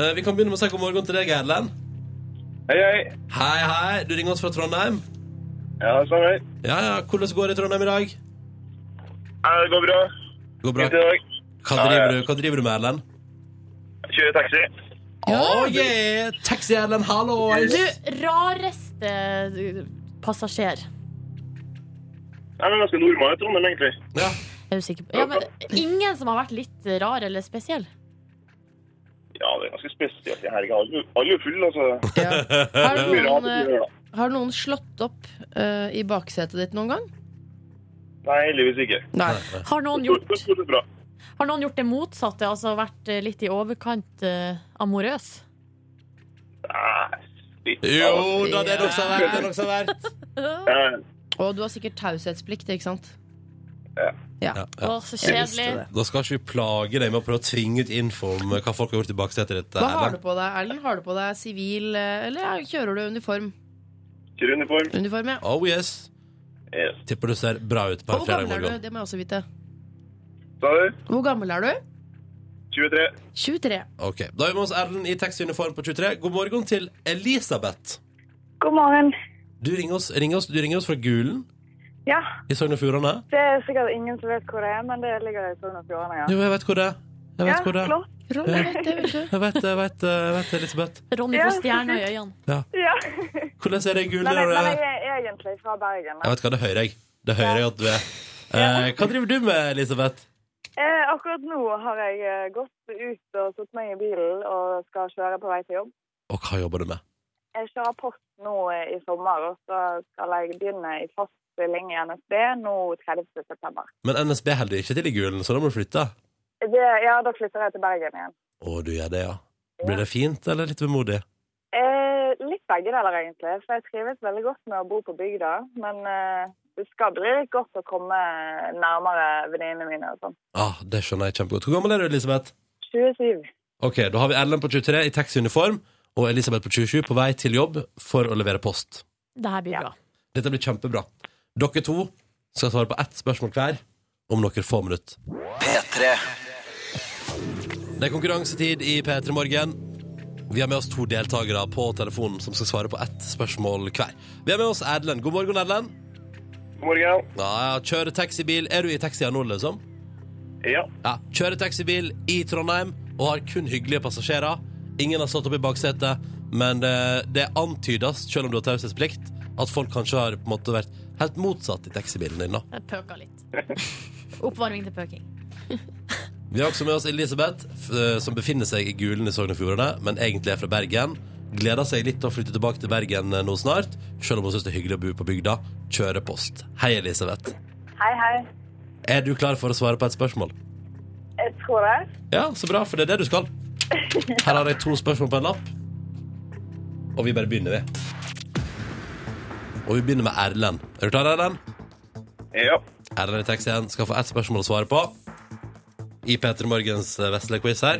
B: Eh, Vi kan begynne med å si god morgen til deg, Erlend.
H: Hei, hei.
B: Hei, hei. Du ringer oss fra Trondheim.
H: Ja, det stemmer.
B: Ja, ja. Hvordan går det i Trondheim i dag?
H: Nei, det går bra.
B: Går bra.
H: Fint i dag.
B: Hva driver du, Hva driver du med, Erlend?
H: Jeg Kjører taxi.
B: Å, yeah! Taxi-Erlend, hallo!
E: Du, rareste eh, passasjer.
H: Jeg er ganske normal i Trondheim, egentlig.
B: Ja.
E: Er du sikker på? Ja, men ingen som har vært litt rar eller spesiell?
H: Ja, det er ganske spesielt i helga. Alle alle er jo fulle, altså.
C: Har
H: Det blir
C: noen,
H: rart å
C: eh,
H: gjøre, da.
C: har noen slått opp eh, i baksetet ditt noen gang?
H: Nei, heldigvis ikke.
C: Nei.
E: Har noen
H: Stort,
E: gjort,
H: stort er bra.
E: har noen gjort det motsatte, altså vært eh, litt i overkant eh, amorøs?
H: Nei, litt.
B: Jo da, det er nokså verdt. Det er nokså verdt.
H: Ja,
C: Og du har sikkert taushetsplikt, ikke sant?
B: Ja,
E: Å,
B: ja.
E: så
G: Jeg visste
E: kjedelig.
G: det.
B: Da skal ikke vi plage deg med å prøve å tvinge ut info om hva folk har gjort i baksetet ditt.
C: Hva har
B: Erlend.
C: du på deg, Erlend? Har du på deg sivil, eh, eller ja, kjører du uniform?
H: Kjører uniform.
C: Uniform, ja.
B: Oh yes.
H: Yes.
B: Tipper du ser bra ut på en
C: Og hvor
B: fredag
C: gammel er du?
B: morgen.
C: Det må jeg også vite.
H: Sa du?
C: Hvor gammel er du?
H: 23.
C: 23.
B: Ok, Da er vi med oss Erlend i taxiuniform på 23. God morgen til Elisabeth.
J: God morgen.
B: Du ringer oss, ringer oss, du ringer oss fra Gulen
J: Ja,
B: i Sogn og Fjordane.
J: det er sikkert ingen som vet hvor det er, men det ligger i Sogn og Fjordane, ja.
B: Jo, jeg vet hvor det er. Jeg vet hvor det er.
J: flott.
C: Rolle, vet du, vet du.
B: Jeg vet, jeg vet, eh, jeg vet Elisabeth.
E: Ronny
J: Ja.
E: får stjerner i øynene.
J: Ja.
B: Hvordan er det i Gulen?
J: Men,
B: der
J: jeg,
B: du
J: men
B: er?
J: jeg er egentlig fra Bergen. da.
B: Jeg vet hva, det hører jeg. Det hører jeg at du er. Eh, hva driver du med, Elisabeth?
J: Eh, akkurat nå har jeg eh, gått ut og satt meg i bilen og skal kjøre på vei til jobb.
B: Og hva jobber du med?
J: Jeg kjører post nå eh, i sommer, og så skal jeg begynne i fast stilling i NSB nå 30. september.
B: Men NSB holder ikke til i Gulen, så da må du flytte.
J: Det, ja, da flytter jeg til Bergen igjen.
B: Å, du gjør det, ja. Blir det fint, eller litt vemodig?
J: Eh, litt begge deler, egentlig. For jeg trives veldig godt med å bo på bygda. Men eh, det skal bli litt godt å komme nærmere venninnene mine og sånn.
B: Ah, det skjønner jeg kjempegodt. Hvor gammel er du, Elisabeth?
J: 27.
B: Ok, da har vi Ellen på 23 i taxiuniform og Elisabeth på 27 på vei til jobb for å levere post.
E: Det her blir bra.
B: Dette blir kjempebra. Dere to skal svare på ett spørsmål hver om noen få minutter.
I: P3.
B: Det er konkurransetid i P3 Morgen. Vi har med oss to deltakere på telefonen som skal svare på ett spørsmål hver. Vi har med oss Erlend. God morgen, Erlend.
H: God morgen.
B: Ja, ja, kjører taxibil. Er du i taxia nå, liksom?
H: Ja.
B: Ja, kjører taxibil i Trondheim og har kun hyggelige passasjerer. Ingen har stått opp i baksetet, men det, det antydes, selv om du har taushetsplikt, at folk kanskje har på en måte vært helt motsatt i taxibilen din. da.
E: Jeg pøka litt. Oppvarming til pøking.
B: Vi har også med oss Elisabeth, f- eh, som befinner seg i Gulen i Sogn og Fjordane, men egentlig er fra Bergen. Gleder seg litt til å flytte tilbake til Bergen eh, nå snart, selv om hun syns det er hyggelig å bo på bygda. Kjører post. Hei, Elisabeth.
J: Hei, hei.
B: Er du klar for å svare på et spørsmål?
J: Jeg tror det.
B: Ja, så bra, for det er det du skal. Her har jeg to spørsmål på en lapp. Og vi bare begynner, vi. Og vi begynner med Erlend. Er du klar, Erlend?
H: Ja.
B: Erlend i taxien skal få ett spørsmål å svare på i P3 Morgens eh, vesle quiz her.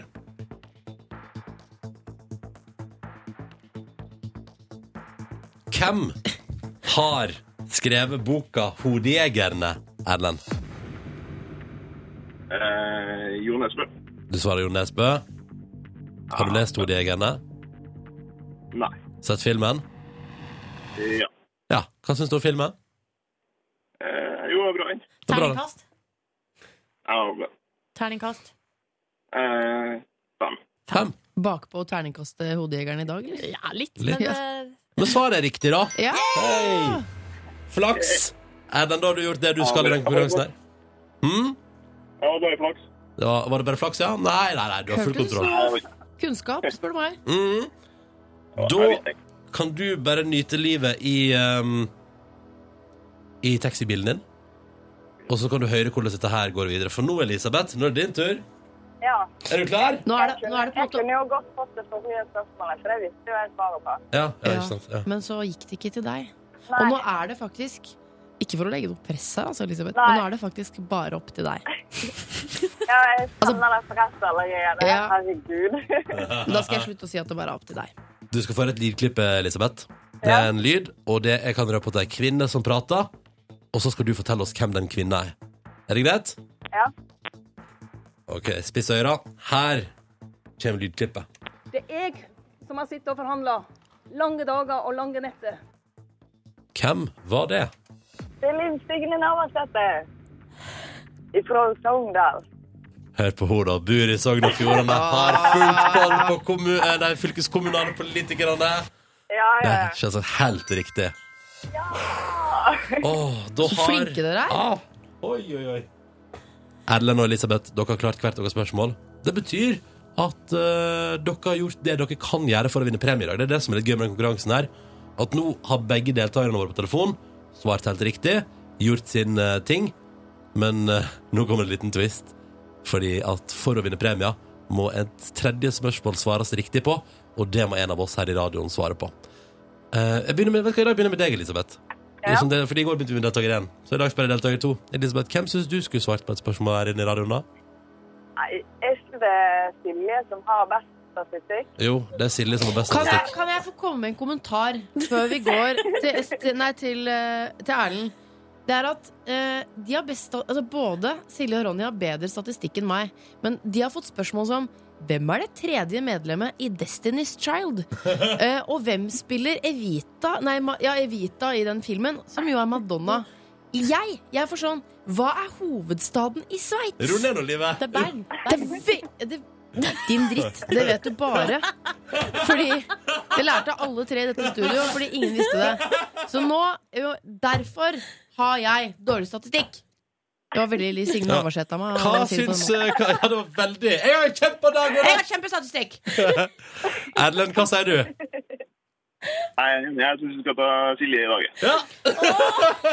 B: Hvem har skrevet boka 'Hodejegerne', Erlend?
H: Eh, Jon Esbø?
B: Du svarer Jon Nesbø. Har du lest 'Hodejegerne'?
H: Nei.
B: Sett filmen?
H: Ja.
B: Ja. Hva syns du om filmen?
H: Eh, jo, det var bra. en.
B: Det er bra, det.
E: Terningkast?
H: Ja, det var bra.
E: Terningkast.
H: Eh, fem.
B: Fem.
C: Bakpå terningkastet hodejegeren i dag, eller?
E: Ja, litt,
B: Litt.
E: men eh,
B: Men svaret er riktig, da.
C: Ja!
B: Hei! Flaks! Erlend, da har du gjort det du skal i den konkurransen her. Hm?
H: Ja, det er flaks.
B: Det var, var det bare flaks, ja? Nei, nei, nei, du har full
C: Hørtes
B: kontroll.
H: Ja, det
C: Kunnskap, spør du meg.
B: Mm.
H: var-
B: Da-
H: jeg visste ikke.
B: Kan du bare nyte livet i ehm, I taxibilen din? Og så kan du høre hvordan dette her går videre. For nå, Elisabeth, nå er det din tur.
J: Ja.
B: Er du klar?
C: Nå er
J: Jeg
C: det, nå
J: kunne,
C: er det på en
J: jeg
C: måte
J: kunne jo godt fått det forrige spørsmålet, for det visste jo jeg svaret på.
B: Ja, ja,
C: Ja.
B: ikke sant. Ja.
C: Men så gikk det ikke til deg. Og
J: Nei,
C: nå er det faktisk ikke for å legge noe press her, altså, Elisabeth,
J: Nei.
C: men nå er det faktisk bare opp til deg.
J: ja, jeg kjenner det pressallergien.
C: Altså- Ja.
J: Herregud. [laughs]
C: Da skal jeg slutte å si at det bare er opp til deg.
B: Du skal få høre et lydklipp, Elisabeth. Det er en lyd, og det jeg kan røpe at det er en kvinne som prater. Og så skal du fortelle oss hvem den kvinna er. Er det greit?
J: Ja.
B: OK, spiss øra. Her kommer lydklippet.
K: Det er jeg som har sittet og forhandla lange dager og lange netter.
B: Hvem var det?
J: Det er Liv Signe Navarsete. Ifra Sogndal.
B: Hør på henne, da. Bor i Sogn og Fjordane. Har fullt koll på kommu- eh, nei, fylkeskommunale politikerne.
J: Ja,
B: Det
J: ja.
B: er selvsagt helt riktig. Åh, da
C: Så
B: har...
C: flinke dere er.
B: Ah, oi, oi, oi. Erlend og Elisabeth, dere har klart hvert deres spørsmål. Det betyr at eh, dere har gjort det dere kan gjøre for å vinne premie i dag. Det er det som er litt gøy med den konkurransen her. At nå har begge deltakerne våre på telefon svart helt riktig, gjort sin eh, ting. Men eh, nå kommer det en liten twist. Fordi at for å vinne premia må et tredje spørsmål svares riktig på, og det må en av oss her i radioen svare på. Eh, jeg begynner med, vet du hva, I dag begynner jeg med deg, Elisabeth. Liksom det, fordi I går begynte vi med deltaker én. Så i dag spør jeg deltaker to. Elisabeth, hvem syns du skulle svart på et spørsmål her inne i radioen? da?
J: Nei, Er ikke det Silje som har best statistikk?
B: Jo, det er Silje som har best
C: Kan jeg,
B: statistikk.
C: kan jeg få komme med en kommentar før vi går til, Est- nei, til, eh, til Erlend? Det er at eh, de har best, altså Både Silje og Ronny har bedre statistikk enn meg, men de har fått spørsmål som hvem er det tredje medlemmet i Destiny's Child? Eh, og hvem spiller Evita Nei, Ma- ja, Evita i den filmen, som jo er Madonna. Jeg jeg får sånn Hva er hovedstaden i Sveits?
B: Ro ned nå, livet.
E: det er Bern.
C: Det er ve- det, din dritt, det vet du bare. Fordi Det lærte alle tre i dette studio, fordi ingen visste det. Så nå jo, Derfor har jeg dårlig statistikk. Det var veldig Liv Signe
B: Ja.
C: Navarsete av meg.
B: Hva
C: å si det på den
B: syns
C: måten.
B: eh, hva, Ja, det var veldig Jeg har en kjempedag!
C: Jeg har kjempestatistikk!
B: Erlend, hva sier du?
H: Nei, jeg syns du skal ta Silje i dag. jeg.
B: Ja!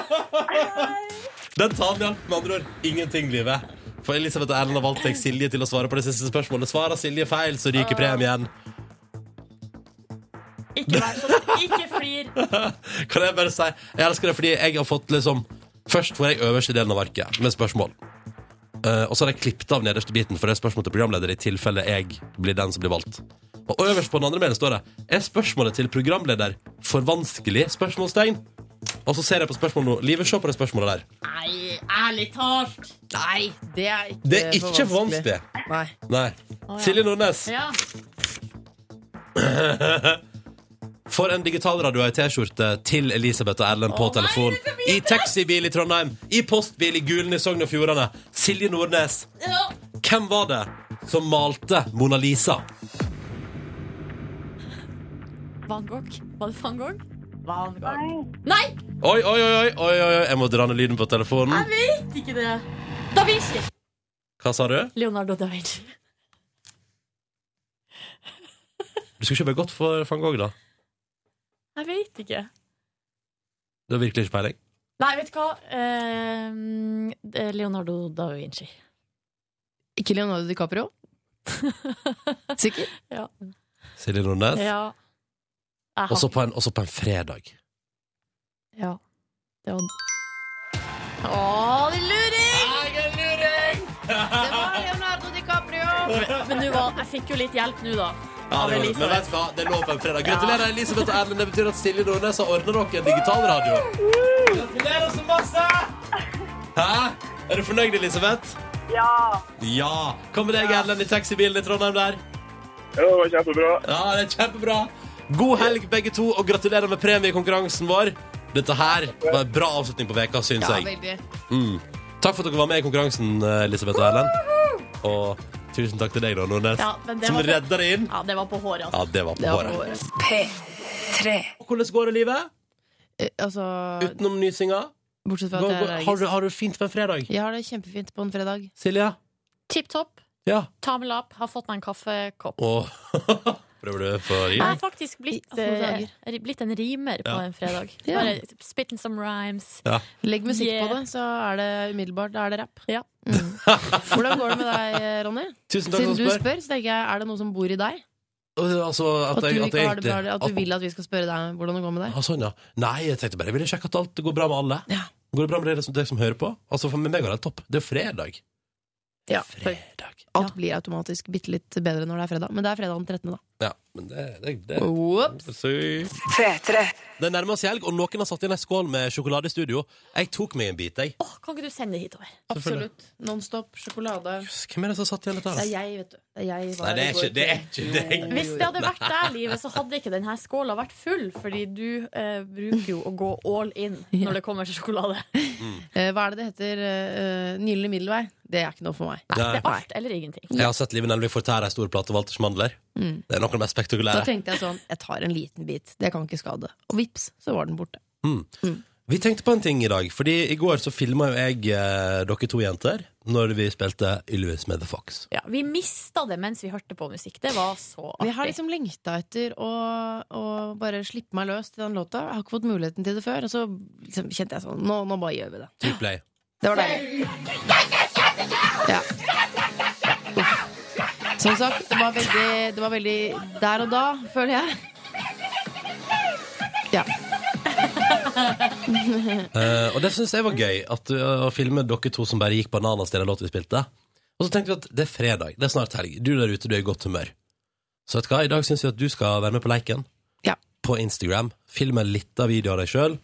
B: Den talen hjalp med andre ord ingenting, livet. For Elisabeth og Erlend har valgt seg Silje til å svare på det siste spørsmålet. Svarer Silje feil, så ryker premien.
E: Ikke vær så Ikke flir.
B: [laughs] Kan jeg bare si Jeg elsker det fordi jeg har fått liksom Først får jeg øverste delen av arket med spørsmål. Eh, og så har jeg klippet av nederste biten, for det er spørsmål til programleder i tilfelle jeg blir den som blir valgt. Og øverst på den andre mailen står det Er spørsmålet til programleder for vanskelig? spørsmålstegn Og så ser jeg på spørsmålet nå. Live, se på det spørsmålet der.
E: Nei, ærlig talt.
C: Nei, det er ikke,
B: Det er ikke for vanskelig.
C: Nei.
B: Nei.
E: ja.
B: Silje Nordnes,
E: Ja.
B: for en digital radio og ei T-skjorte til Elisabeth og Erlend på telefon. I taxibil i Trondheim, i postbil i Gulen i Sogn og Fjordane. Silje Nordnes,
E: ja.
B: hvem var det som malte Mona Lisa?
E: Van Gogh. Var det Van Gogh? Van Gogh.
J: Nei.
E: Nei,
B: Oi, oi, oi, oi, oi, oi, oi. jeg må dra ned lyden på
E: jeg
B: telefonen.
E: vet ikke det. Da Vinci.
B: Hva sa du?
E: Leonardo da Vinci.
B: Du skulle kjøpe godt for van Gogh, da.
E: Jeg vet ikke.
B: Du har virkelig ikke peiling.
E: Nei, vet du hva? Ehm, det er Leonardo da Vinci.
C: Ikke Leonardo DiCaprio? Sikker?
B: Silje Nordnes.
E: Ja. Jeg har
B: Også på, en, også på en fredag.
E: Ja. Det var Å, din luring!
C: Det var Leonardo DiCaprio!
E: Men nå var, jeg fikk jo litt hjelp nå, da.
B: Ja, det, var, men vet du hva? det lå på en fredag. Gratulerer, Elisabeth og Erlend. Det betyr at Silje Nordnes har ordna dere en digital radio. Gratulerer så masse! Hæ? Er du fornøyd, Elisabeth?
J: Ja.
B: Ja. Hva med deg, Erlend, i taxibilen i Trondheim der?
H: Ja, det var kjempebra.
B: Ja, det er kjempebra. God helg, begge to, og gratulerer med premie i konkurransen vår. Dette her var en bra avslutning på veka, syns
C: Ja,
B: jeg.
C: veldig.
B: Mm. Takk for at dere var med i konkurransen, eh, Elisabeth og Erlend. Og tusen takk til deg, da, Nordnes,
E: Ja, men det
B: som
E: var-
B: redda det inn.
E: Ja, det var på håret, altså.
B: Ja, det var på
C: Det var
B: håret.
C: håret.
B: Hvordan går det livet?
C: Eh, Altså,
B: Utenom nysinga?
C: bortsett fra
B: Går-
C: at jeg
B: går-
C: er
B: Har
C: allergisk.
B: du, har du fint på en fredag?
C: Jeg har det kjempefint på en fredag.
B: Silja?
E: Tipp topp.
B: Ja.
E: Tommel opp. Har fått meg en kaffekopp.
B: Og [laughs] prøver du for
E: Jeg
B: rim?
E: har faktisk blitt,
C: I alle dager.
E: eh, blitt en rimer på
B: Ja.
E: en fredag.
C: Ja.
E: Bare spitting some rhymes.
C: Legg musikk
E: Yeah.
C: på det, så er det umiddelbart. Da er det rapp.
E: Ja.
C: Mm. [laughs] Hvordan går det med deg, Ronny?
B: Tusen takk for
C: Siden
B: at
C: du
B: du spør.
C: spør, så tenker jeg, er det noe som bor i deg?
B: Og, Altså, at,
C: At du,
B: jeg, at, jeg
C: ikke har det bra,
B: egentlig-
C: at du vil at vi skal spørre deg hvordan det går med deg?
B: Ah, sånn, ja. Nei, jeg tenkte bare jeg ville sjekke at alt går bra med alle.
C: Ja.
B: Går det bra med dere som, dere som hører på? Altså, for meg går det topp. Det er fredag.
C: Ja,
B: Fredag.
C: Alt blir automatisk bitte litt bedre når det er fredag. Men det er fredag den 13., da.
B: Ja, men det, det, det
C: Whoops.
B: Det nærmer seg helg, og noen har satt inn ei skål med sjokolade i studio. Jeg tok meg en bit, jeg.
E: Åh, kan ikke du sende det hitover?
C: Absolutt. Nonstop, sjokolade.
B: Jøss, Hvem er det som har satt igjen dette?
C: Det er
B: her, da?
C: jeg, vet du. Det er jeg var
B: Nei, det er
C: i
B: ikke
C: går
B: det. Er ikke, det er
E: Hvis det hadde vært deg, livet, så hadde ikke denne skåla vært full. Fordi du eh, bruker jo å gå all in når det kommer til sjokolade.
B: [laughs]
C: Eh, Hva er det det heter? Uh, Nydelig middelvei? Det er ikke noe for meg.
E: Nei, det er
B: Nei.
E: alt eller ingenting.
B: Jeg har sett Live Nelvik fortære ei stor plate Walters mandler.
C: Mm.
B: Det er noe av det mest
C: Da
B: spektakulære.
C: tenkte jeg sånn, jeg tar en liten bit. Det kan ikke skade. Og vips, så var den borte.
B: Vi tenkte på en ting i dag, fordi i går så filma jo jeg eh, dere to jenter når vi spilte Ylvis med The Fox.
E: Ja, vi mista det mens vi hørte på musikk. Det var så
C: Men jeg har
E: artig.
C: liksom lengta etter å, å bare slippe meg løs til den låta. Jeg har ikke fått muligheten til det før. Og så liksom kjente jeg sånn, nå, nå bare gjør vi det.
B: Trykk play.
C: Det var deilig. Ja. Uff. Som sagt, det var, veldig, det var veldig der og da, føler jeg. Ja.
B: Eh, og det syns jeg var gøy, at, eh, å filme dere to som bare gikk bananas til den låta vi spilte. Og så tenkte vi at det er fredag, det er snart helg. Du der ute, du er i godt humør. Så vet du hva, i dag syns vi at du skal være med på leiken.
C: Ja.
B: På Instagram. Film en liten video av deg sjøl.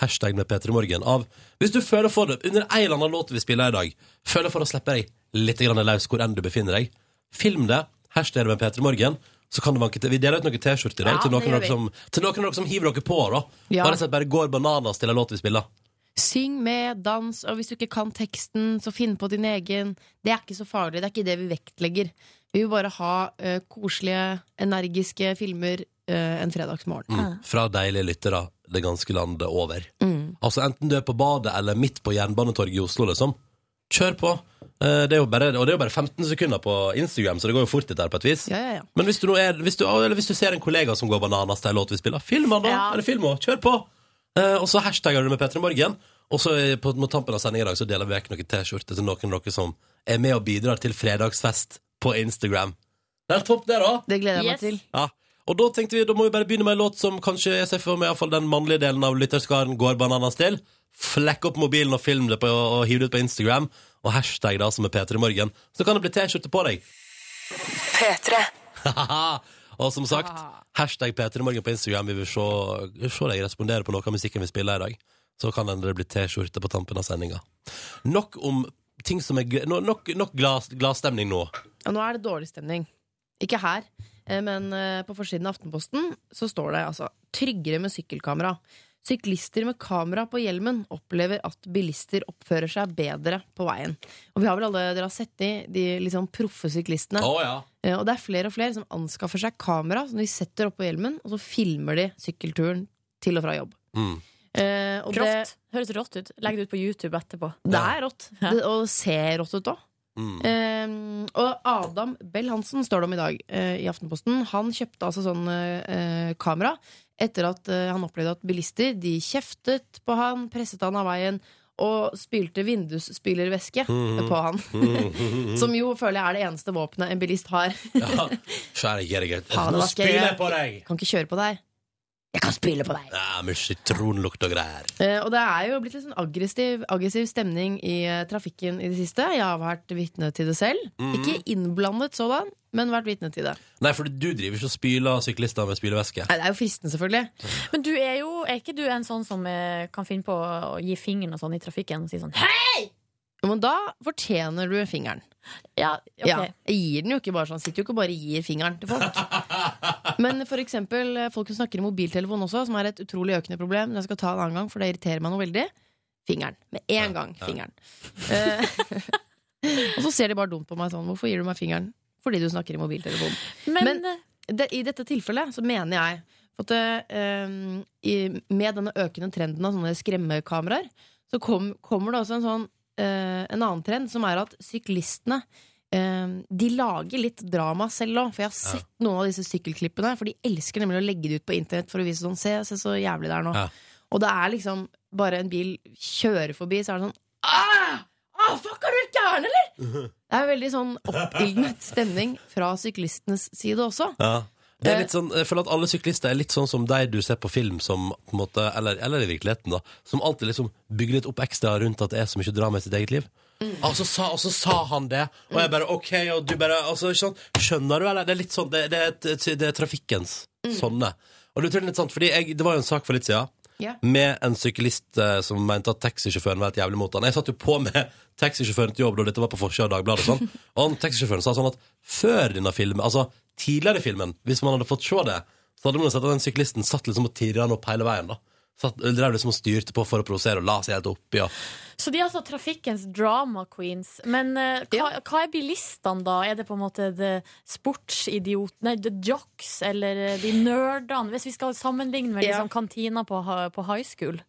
B: Hashtag med P3morgen av Hvis du føler for det under en eller annen låt vi spiller i dag, føler for å slippe deg litt grann løs hvor enn du befinner deg, film det. Hashtag med P3morgen. Så kan det vanke til. Vi deler ut noen T-skjorter i dag
E: Ja,
B: til,
E: det
B: noen av dere
E: gjør vi.
B: som, til noen av dere som hiver dere på. da
C: Ja.
B: Bare, så bare går bananas til en låt vi spiller.
C: Syng med, dans, og hvis du ikke kan teksten, så finn på din egen. Det er ikke så farlig. Det er ikke det vi vektlegger. Vi vil bare ha eh, koselige, energiske filmer eh, en fredagsmorgen.
B: Mm. Fra deilige lyttere det ganske landet over.
C: Ah. Mm.
B: Altså Enten du er på badet eller midt på Jernbanetorget i Oslo, liksom. Kjør på! Eh, Det er jo bare, og det er jo bare 15 sekunder på Instagram, så det går jo fort litt der på et vis.
C: Ja, ja, ja.
B: Men hvis du, nå er, hvis, du, eller hvis du ser en kollega som går bananas til en låt vi spiller, film han da!
E: Ja.
B: Eller film han, Kjør på! Eh, og så hashtagger du med Petter i Morgen. Og så eh, på, mot tampen av sendingen i dag så deler vi vekk noen T-skjorter til noen av dere som er med og bidrar til fredagsfest på Instagram. Det er topp, det, da!
C: Det gleder jeg
E: Yes.
C: meg til.
B: Ja. Og da tenkte vi, da må vi bare begynne med en låt som kanskje jeg ser for meg i hvert fall den mannlige delen av lytterskaren går bananas til. Flekk opp mobilen og film det på, og hiv det ut på Instagram. Og hashtag da som er Peter i morgen. Så kan det bli T-skjorte på deg. Haha. og som sagt, hashtag Peter i morgen på Instagram. Vi vil se, vi vil se deg respondere på noe av musikken vi spiller i dag. Så kan det hende det bli T-skjorte på tampen av sendinga. Nok om ting som er gøy. Nok, nok glad- gladstemning nå.
C: Og nå er det dårlig stemning. Ikke her, eh, men eh, på forsiden av Aftenposten så står det altså 'tryggere med sykkelkamera'. Syklister med kamera på hjelmen opplever at bilister oppfører seg bedre på veien. Og vi har vel alle, Dere har sett de, de liksom proffe syklistene.
B: Å ja.
C: Eh, Og det er flere og flere som anskaffer seg kamera som de setter oppå hjelmen, og så filmer de sykkelturen til og fra jobb.
B: Mm.
C: Eh, og det,
E: Rått. Høres rått ut. Legg det ut på YouTube etterpå.
C: det er rått.
E: Ja.
C: Det, og det ser rått ut òg.
B: Mm.
C: [laughs] Eh, og Adam Bell-Hansen står det om i dag eh, i Aftenposten. Han kjøpte altså sånn eh, eh, kamera etter at eh, han opplevde at bilister de kjeftet på han, presset han av veien og spylte vindusspylervæske
B: Mhm.
C: på han.
B: Mm.
C: Som jo føler jeg er det eneste våpenet en bilist har.
B: Ja. Skjære, gjøre, gjøre.
C: Faen,
B: Nå
C: hva skal jeg
B: spyr jeg
C: gjøre?
B: på deg!
C: Kan ikke kjøre på deg. Jeg kan spyle på deg!
B: Ja, med sitronlukt og greier.
C: Eh, og det er jo blitt litt sånn aggressiv, aggressiv stemning i eh, trafikken i det siste. Jeg har vært vitne til det selv. Ikke innblandet sådan, men vært vitne til det.
B: Nei, for du driver ikke og spyler syklister med spylevæske.
C: Nei, det er jo fristende, selvfølgelig.
E: Men du er jo er ikke du en sånn som eh, kan finne på å gi fingeren og sånn i trafikken og si sånn Hei!
C: Men da fortjener du fingeren.
E: Ja, ok.
C: Ja, jeg gir den jo ikke bare sånn. Sitter jo ikke og bare gir fingeren til
E: [laughs]
C: folk. Men for eksempel eh, folk som snakker i mobiltelefon også, som er et utrolig økende problem. Jeg skal ta en annen gang, for det irriterer meg noe veldig. Fingeren. Med en gang. Fingeren. Eh, [laughs] og så ser de bare dumt på meg sånn. Hvorfor gir du meg fingeren? Fordi du snakker i mobiltelefon.
E: Men, eh,
C: Men- Det, I dette tilfellet så mener jeg at eh, i, med denne økende trenden av sånne skremmekameraer, så kom, kommer det også en sånn eh, en annen trend, som er at syklistene eh, de lager litt drama selv òg. For jeg har sett noen av disse sykkelklippene. For de elsker nemlig å legge det ut på internett for å vise sånn Se, se så jævlig det er nå.
B: Ja.
C: Og det er liksom bare en bil kjører forbi, så er det sånn Ah! Ah, fuck, er du helt gæren, eller?! Det er en veldig sånn oppildnet stemning fra syklistenes side også.
B: Ja. Det er litt sånn, jeg føler at alle syklister er litt sånn som de du ser på film, som, på en måte, eller, eller i virkeligheten, da, som alltid liksom bygger litt opp ekstra rundt at det er så mye drama i sitt eget liv. Mm. Og, så sa, og så sa han det, og jeg bare OK, og du bare altså, ikke sånn, Skjønner du, eller? Det er litt sånn, det, det, er, et- det er trafikkens sånne. Og det er litt sant, fordi jeg, det var jo en sak for litt siden
C: Ja.
B: med en syklist eh, som mente at taxisjåføren var et jævlig mot han. Jeg satt jo på med taxisjåføren til jobb da dette var på forsida av Dagbladet. og Sånn. Og han, taxisjåføren sa sånn at før denne filmen, altså tidligere i filmen, hvis man hadde fått se det, så hadde man sett at den syklisten satt liksom og tirra han opp hele veien. da. Satt, drev liksom og styrte på for å provosere og la seg helt oppi. Og.
E: så de er altså trafikkens drama queens. Men eh, hva, hva er bilistene, da? Er det på en måte the sportsidiot, nei, the jocks eller eh, de nerdene? Hvis vi skal sammenligne med
C: Ja.
E: liksom, kantina på, ha- på high school.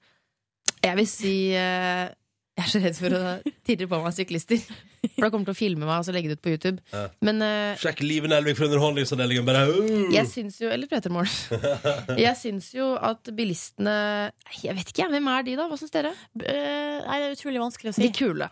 C: Jeg vil si eh, Jeg er så redd for å tirre på meg syklister. For da kommer de til å filme meg og så legge det ut på YouTube.
B: Ja.
C: Men eh,
B: Sjekk Live Nelvik fra Underholdningsavdelingen, bare uh.
C: jeg syns jo Eller Peter Morn. [laughs] Jeg syns jo at bilistene Jeg vet ikke, jeg. Hvem er de, da? Hva syns dere?
E: B- eh, nei, det er utrolig vanskelig å si.
C: De kule.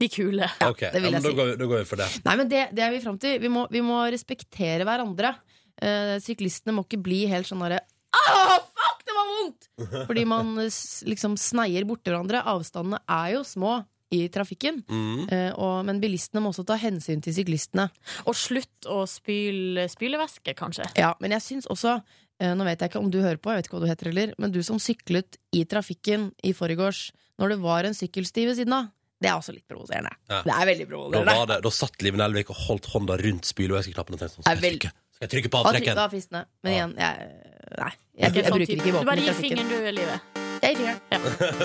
E: De kule.
B: Ok,
C: det
B: ja,
C: vil
B: men
C: jeg
B: da
C: si.
B: går, vi- da går vi for det.
C: Nei, men det, det er vi fram til. Vi må, vi må respektere hverandre. Eh, syklistene må ikke bli helt sånn derre Åh, fuck, det var vondt! Fordi man eh, s- liksom sneier borti hverandre. Avstandene er jo små i trafikken.
B: Mm.
C: Eh, og, men bilistene må også ta hensyn til syklistene.
E: Og slutt å spyle spylevæske, kanskje.
C: Ja, men jeg syns også eh, Nå vet jeg ikke om du hører på, jeg vet ikke hva du heter heller, men du som syklet i trafikken i forgårs når det var en sykkelsti ved siden av, det er også litt provoserende.
B: Ja.
C: Det er veldig
B: Da,
C: provoserende. [laughs]
B: var det, da satt Live Nelvik og holdt hånda rundt spylevæskeknappen og tenkte sånn
C: Er
B: Skal jeg
C: vel-
B: trykke, skal jeg trykke på
C: Og trykke
B: avtrekkeren?
C: av fistene. Men
B: Ja.
C: igjen, jeg, nei, jeg, jeg,
E: Sånn
C: bruker
E: type-
C: ikke
E: Du
C: våpen
E: bare
C: i
E: gir
C: trafikken.
E: fingeren, du, i livet.
C: Jeg gir fingeren.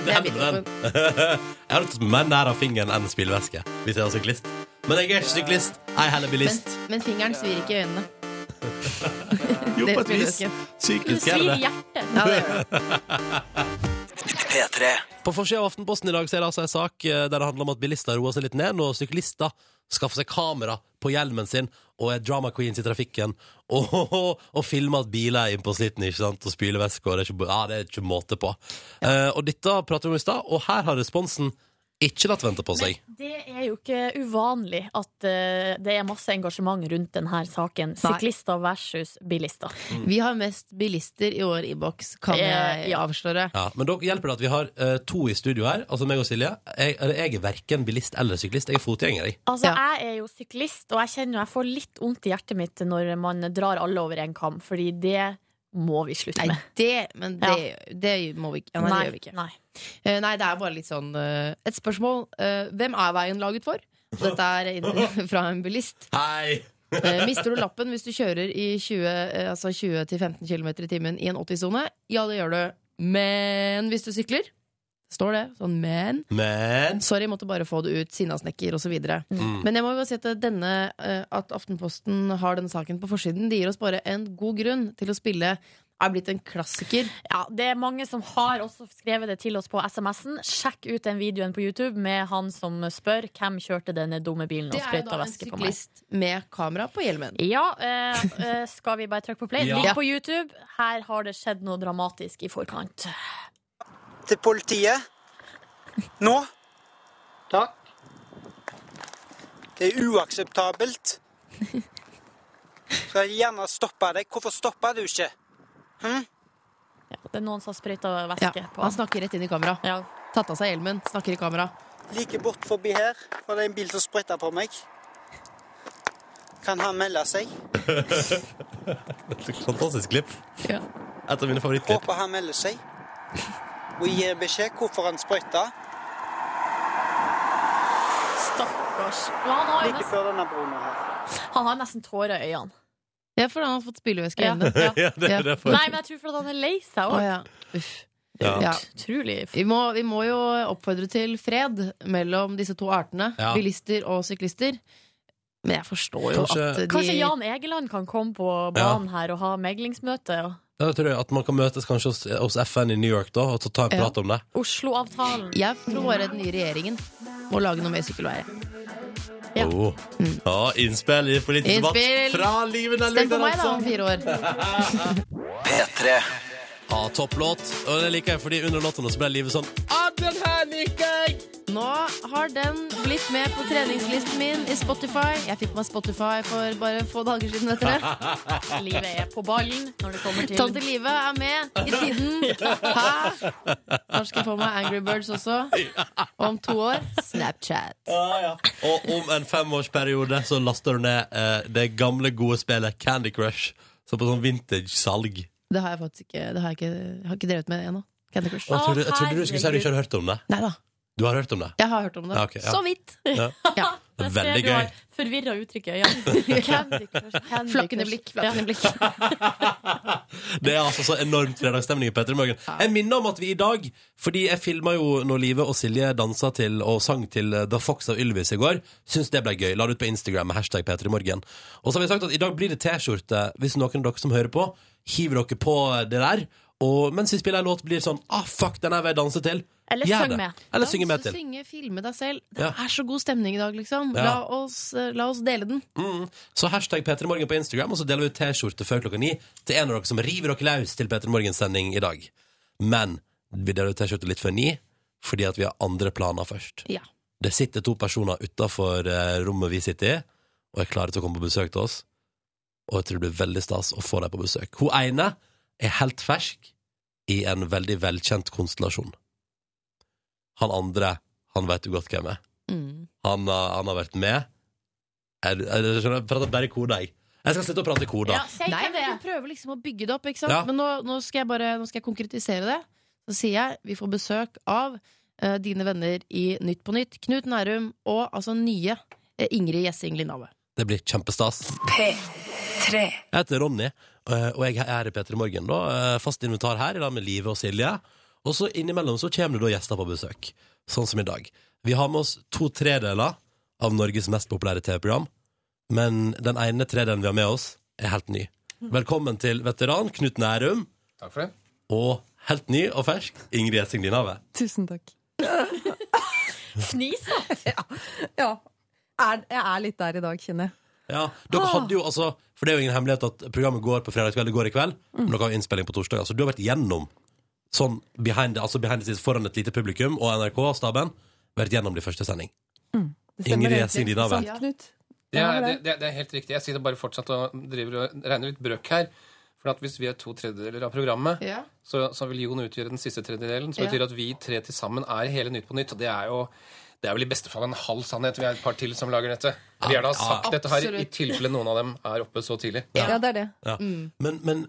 B: [laughs] Det er den. [laughs] Jeg har tatt mer nær av fingeren enn spillvæske hvis jeg er syklist. Men jeg er ikke syklist, jeg er heller
C: Men,
B: bilist.
C: men fingeren svir ikke i øynene.
B: [laughs] Jo,
C: det
B: på et
C: spiller
B: vis.
C: jeg
E: Du
B: Psykisk er
E: svir
B: det det.
E: hjertet.
C: Ja, det gjør
B: [laughs]
C: det.
I: P3.
B: På forsida av Aftenposten i dag så er det altså en sak eh, der det handler om at bilister roer seg litt ned når syklister skaffer seg kamera på hjelmen sin og er drama queens i trafikken [laughs] og, og, og filmer at biler er inne på sliten, ikke sant, og spylevæske og det er ikke, ja, det er ikke måte på. Eh, og dette prater vi om i stad, og her har responsen ikke latt vente på seg.
E: Det er jo ikke uvanlig at eh, det er masse engasjement rundt denne saken. Syklister versus bilister.
C: Vi har mest bilister i vår innboks, kan
E: Eh,
C: jeg
E: ja.
C: avsløre.
B: Ja, men da hjelper det at vi har eh, to i studio her, altså meg og Silje. Jeg, eller jeg er verken bilist eller syklist, jeg er fotgjenger. Jeg.
E: Altså,
C: Ja.
E: Jeg er jo syklist, og jeg kjenner jo jeg får litt vondt i hjertet mitt når man drar alle over en kam, fordi det må vi slutte
C: Nei,
E: med.
C: det, men det, det må vi ikke. Ja, nei, det gjør vi ikke.
E: Nei.
C: Eh, Nei, det er bare litt sånn eh, Et spørsmål. eh, Hvem er veien laget for? Dette er inn- fra en [laughs] bilist.
B: Hei!
C: Eh, Mister du lappen hvis du kjører i 20, eh, altså 20-15 km i timen i en 80-sone? Ja, det gjør du. Men hvis du sykler? Står det. Sånn men.
B: Men
C: Sorry, måtte bare få det ut. Sinnasnekker osv. Men jeg må jo bare si at denne eh, At Aftenposten har denne saken på forsiden, det gir oss bare en god grunn til å spille er blitt en klassiker.
E: Ja, det er mange som har også skrevet det til oss på SMS-en. Sjekk ut den videoen på YouTube med han som spør hvem kjørte denne dumme bilen og
C: Det er jo
E: sprøyta
C: da en
E: væske på meg.
C: syklist med kamera på hjelmen.
E: Ja, eh, eh, skal vi bare trykke på play?
B: Ja.
E: Ligg på YouTube. Her har det skjedd noe dramatisk i forkant.
I: Til politiet. Nå.
L: Takk.
I: Det er uakseptabelt. Skal jeg gjerne stoppe deg. Hvorfor stopper du ikke? Hm?
E: Det er noen som har sprøyta
C: Ja,
E: væske på
C: han snakker rett inn i kamera.
E: Ja.
C: Tatt av seg hjelmen, snakker i kamera.
I: Like bort forbi her var det en bil som spretta på meg. Kan han melde seg?
B: Fantastisk klipp.
C: Ja.
B: Et av mine favorittklipp.
I: Håper han melder seg og gir beskjed hvorfor han sprøyta
E: Stakkars. Ja, han, har jo
I: like
E: nesten,
I: før denne broen her.
E: han har nesten tårer i øynene.
C: Det er fordi han har fått spylevæske i [laughs]
E: Ja.
C: øynene.
E: Ja.
B: Ja, det
C: Ja.
B: er derfor.
E: Nei, men jeg tror fordi han er lei seg
C: Å
E: òg.
C: ja. Uff.
B: Ja.
C: Ja.
E: Utrolig.
C: Vi må, vi må jo oppfordre til fred mellom disse to artene,
B: Ja.
C: bilister og syklister. Men jeg forstår jo
B: Kanskje-
C: at de
E: Kanskje Jan Egeland kan komme på banen her og ha meglingsmøte. Og
B: Da tror jeg at man kan møtes kanskje hos, hos FN i New York da, og så ta en
C: Ja.
B: prat om det.
E: Oslo-avtalen.
C: Jeg tror bare den nye regjeringen må lage noe mer sykkelveier.
E: Ja.
B: Oh. Ja, innspill i politisk debatt
C: Mm. Innspill!
B: fra livet der
C: Stem
B: ute,
C: på meg, da,
B: altså.
C: om fire år.
B: Ja, topplåt. Og det liker jeg, fordi under låten så ble livet sånn
C: Nå har den blitt med på treningslisten min i Spotify. Jeg fikk meg Spotify for bare få dager siden, vet dere.
E: Livet er på ballen når det kommer til
C: Tante Live er
B: [laughs]
C: med i tiden. Hæ? Når skal jeg få meg Angry Birds også? Om to år Snapchat.
B: Og om en femårsperiode så laster du ned eh, det gamle, gode spillet Candy Crush. Så på sånn vintage-salg.
C: Det har jeg faktisk ikke, det har jeg ikke, jeg har ikke drevet med ennå. Candy Crush.
B: Og Jeg trodde, jeg trodde du skulle si at du ikke hadde hørt om det.
C: Nei da.
B: Du har hørt om det?
C: Jeg har hørt om det.
B: Ja, ok, ja.
C: Så vidt.
B: Ja.
C: [laughs] Ja.
E: Jeg ser
B: Veldig
E: du har
B: gøy.
E: Forvirra uttrykk i øynene. Candy Crush, Candy
C: Flakkende
E: Crush.
C: blikk. Flakkende blikk.
B: Det er altså så enormt fredagsstemning i Petter i Morgen. Jeg minner om at vi i dag, fordi jeg filma jo når Live og Silje dansa til og sang til eh, The Fox av Ylvis i går, syns det ble gøy. La det ut på Instagram med hashtag Petter i morgen. Og så har vi sagt at i dag blir det T-skjorte. Hvis noen av dere som hører på, hiver dere på det der. Og mens vi spiller en låt, blir det sånn Ah, fuck, den her vil jeg danse til.
E: Eller
B: Gjør
E: syng
B: det.
E: med.
B: Eller synge med
C: Dans og
B: til.
C: Synge, filme deg selv. Det
B: Ja.
C: er så god stemning i dag, liksom.
B: Ja.
C: La, oss, eh, la oss dele den.
B: Mm. Så hashtag Peter Morgen på Instagram, og så deler vi ut T-skjorte før klokka ni til en av dere som river dere løs til Peter Morgens sending i dag. Men vi deler ut T-skjorte litt før ni, fordi at vi har andre planer først.
C: Ja.
B: Det sitter to personer utafor rommet vi sitter i, og er klare til å komme på besøk til oss. Og jeg tror det blir veldig stas å få dem på besøk. Hun ene er helt fersk i en veldig velkjent konstellasjon. Han andre, han veit du godt hvem er.
C: Mm.
B: Han, har- han har vært med. Jeg, jeg, jeg, skjønner, jeg prater bare i kode, jeg. Jeg skal slutte å prate i kode.
E: Ja, si
C: Nei,
E: hvem det
C: men
E: er.
C: Du prøver liksom å bygge det opp, ikke sant?
B: Ja.
C: Men nå, nå, skal jeg bare, nå skal jeg konkretisere det. Så sier jeg vi får besøk av eh, dine venner i Nytt på Nytt, Knut Nærum og altså nye eh, Ingrid Gjessing Lindhave.
B: Det blir kjempestas. Jeg heter Ronny, eh, og jeg er i P3 Morgen, da. eh, Fast invitar her, i dag med Live og Silje. Og så innimellom så kommer det da gjester på besøk. Sånn som i dag. Vi har med oss to tredeler av Norges mest populære TV-program. Men den ene tredelen vi har med oss, er helt ny. Velkommen til veteran Knut Nærum.
L: Takk for det.
B: Og helt ny og fersk Ingrid Gjessing Dinave.
A: Tusen takk.
E: Fnis.
A: Ja. Er, jeg er litt der i dag, kjenner jeg.
B: Ja, dere
A: Ah.
B: hadde jo altså For det er jo ingen hemmelighet at programmet går på fredag kveld Det går i kveld,
A: Mm.
B: men dere har jo innspilling på torsdag Altså du har vært gjennom Sånn behind, the- altså behind the scenes foran et lite publikum Og NRK-staben Vært gjennom de første sending
A: Mm, Det
B: Ingrid
A: egentlig.
B: Gjessing Dinave.
A: Sant, Knut?
L: Ja,
A: Ja,
L: det, det, det er helt riktig. Jeg sitter bare fortsatt og driver og regner litt brøk her. For at hvis vi er to tredjedeler av programmet,
C: Ja.
L: så, så vil Jon utgjøre den siste tredjedelen. Som
C: Ja.
L: betyr at vi tre til sammen er hele Nytt på Nytt. Og det er jo det er vel i beste fall en halv sannhet. Vi er et par til som lager dette. Vi gjerne har sagt dette her i
C: Absolutt.
L: tilfelle noen av dem er oppe så tidlig.
A: Ja, det er det.
B: ja. men, men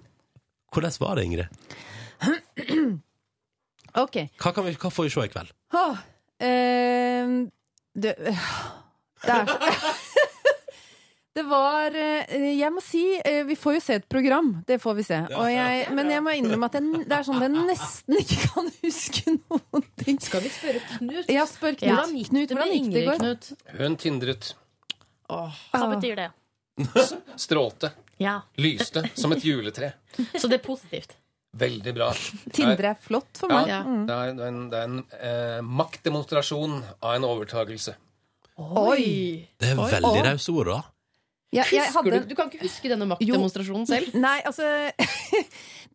B: hvordan var det, Ingrid?
A: [clears throat] Ok.
B: Hva, kan vi, hva får vi se i kveld?
A: Åh, ehm, det, det er [laughs] Det var eh, Jeg må si eh, Vi får jo se et program. Det får vi se. Og jeg, men jeg må innrømme at jeg, det er sånn at jeg nesten ikke kan huske noen ting.
C: Skal vi spørre Knut?
A: Ja, spør Knut.
C: Hvordan gikk
A: Knut,
C: det
A: hvordan
C: med
A: gikk det i
C: Ingrid,
A: går?
C: Knut?
L: Hun tindret,
E: Hva
A: Ah.
E: betyr det?
L: strålte,
E: Ja,
L: lyste som et juletre.
E: Så det er positivt.
L: Veldig bra.
A: Tindre er flott for meg.
L: Ja, det er, det er en, det er en eh, maktdemonstrasjon av en overtagelse.
A: Oi!
B: Det er
A: Oi.
B: veldig rause ord da
A: Jeg, jeg
C: Husker
A: hadde
C: du, du kan ikke huske denne maktdemonstrasjonen selv?
A: Nei, altså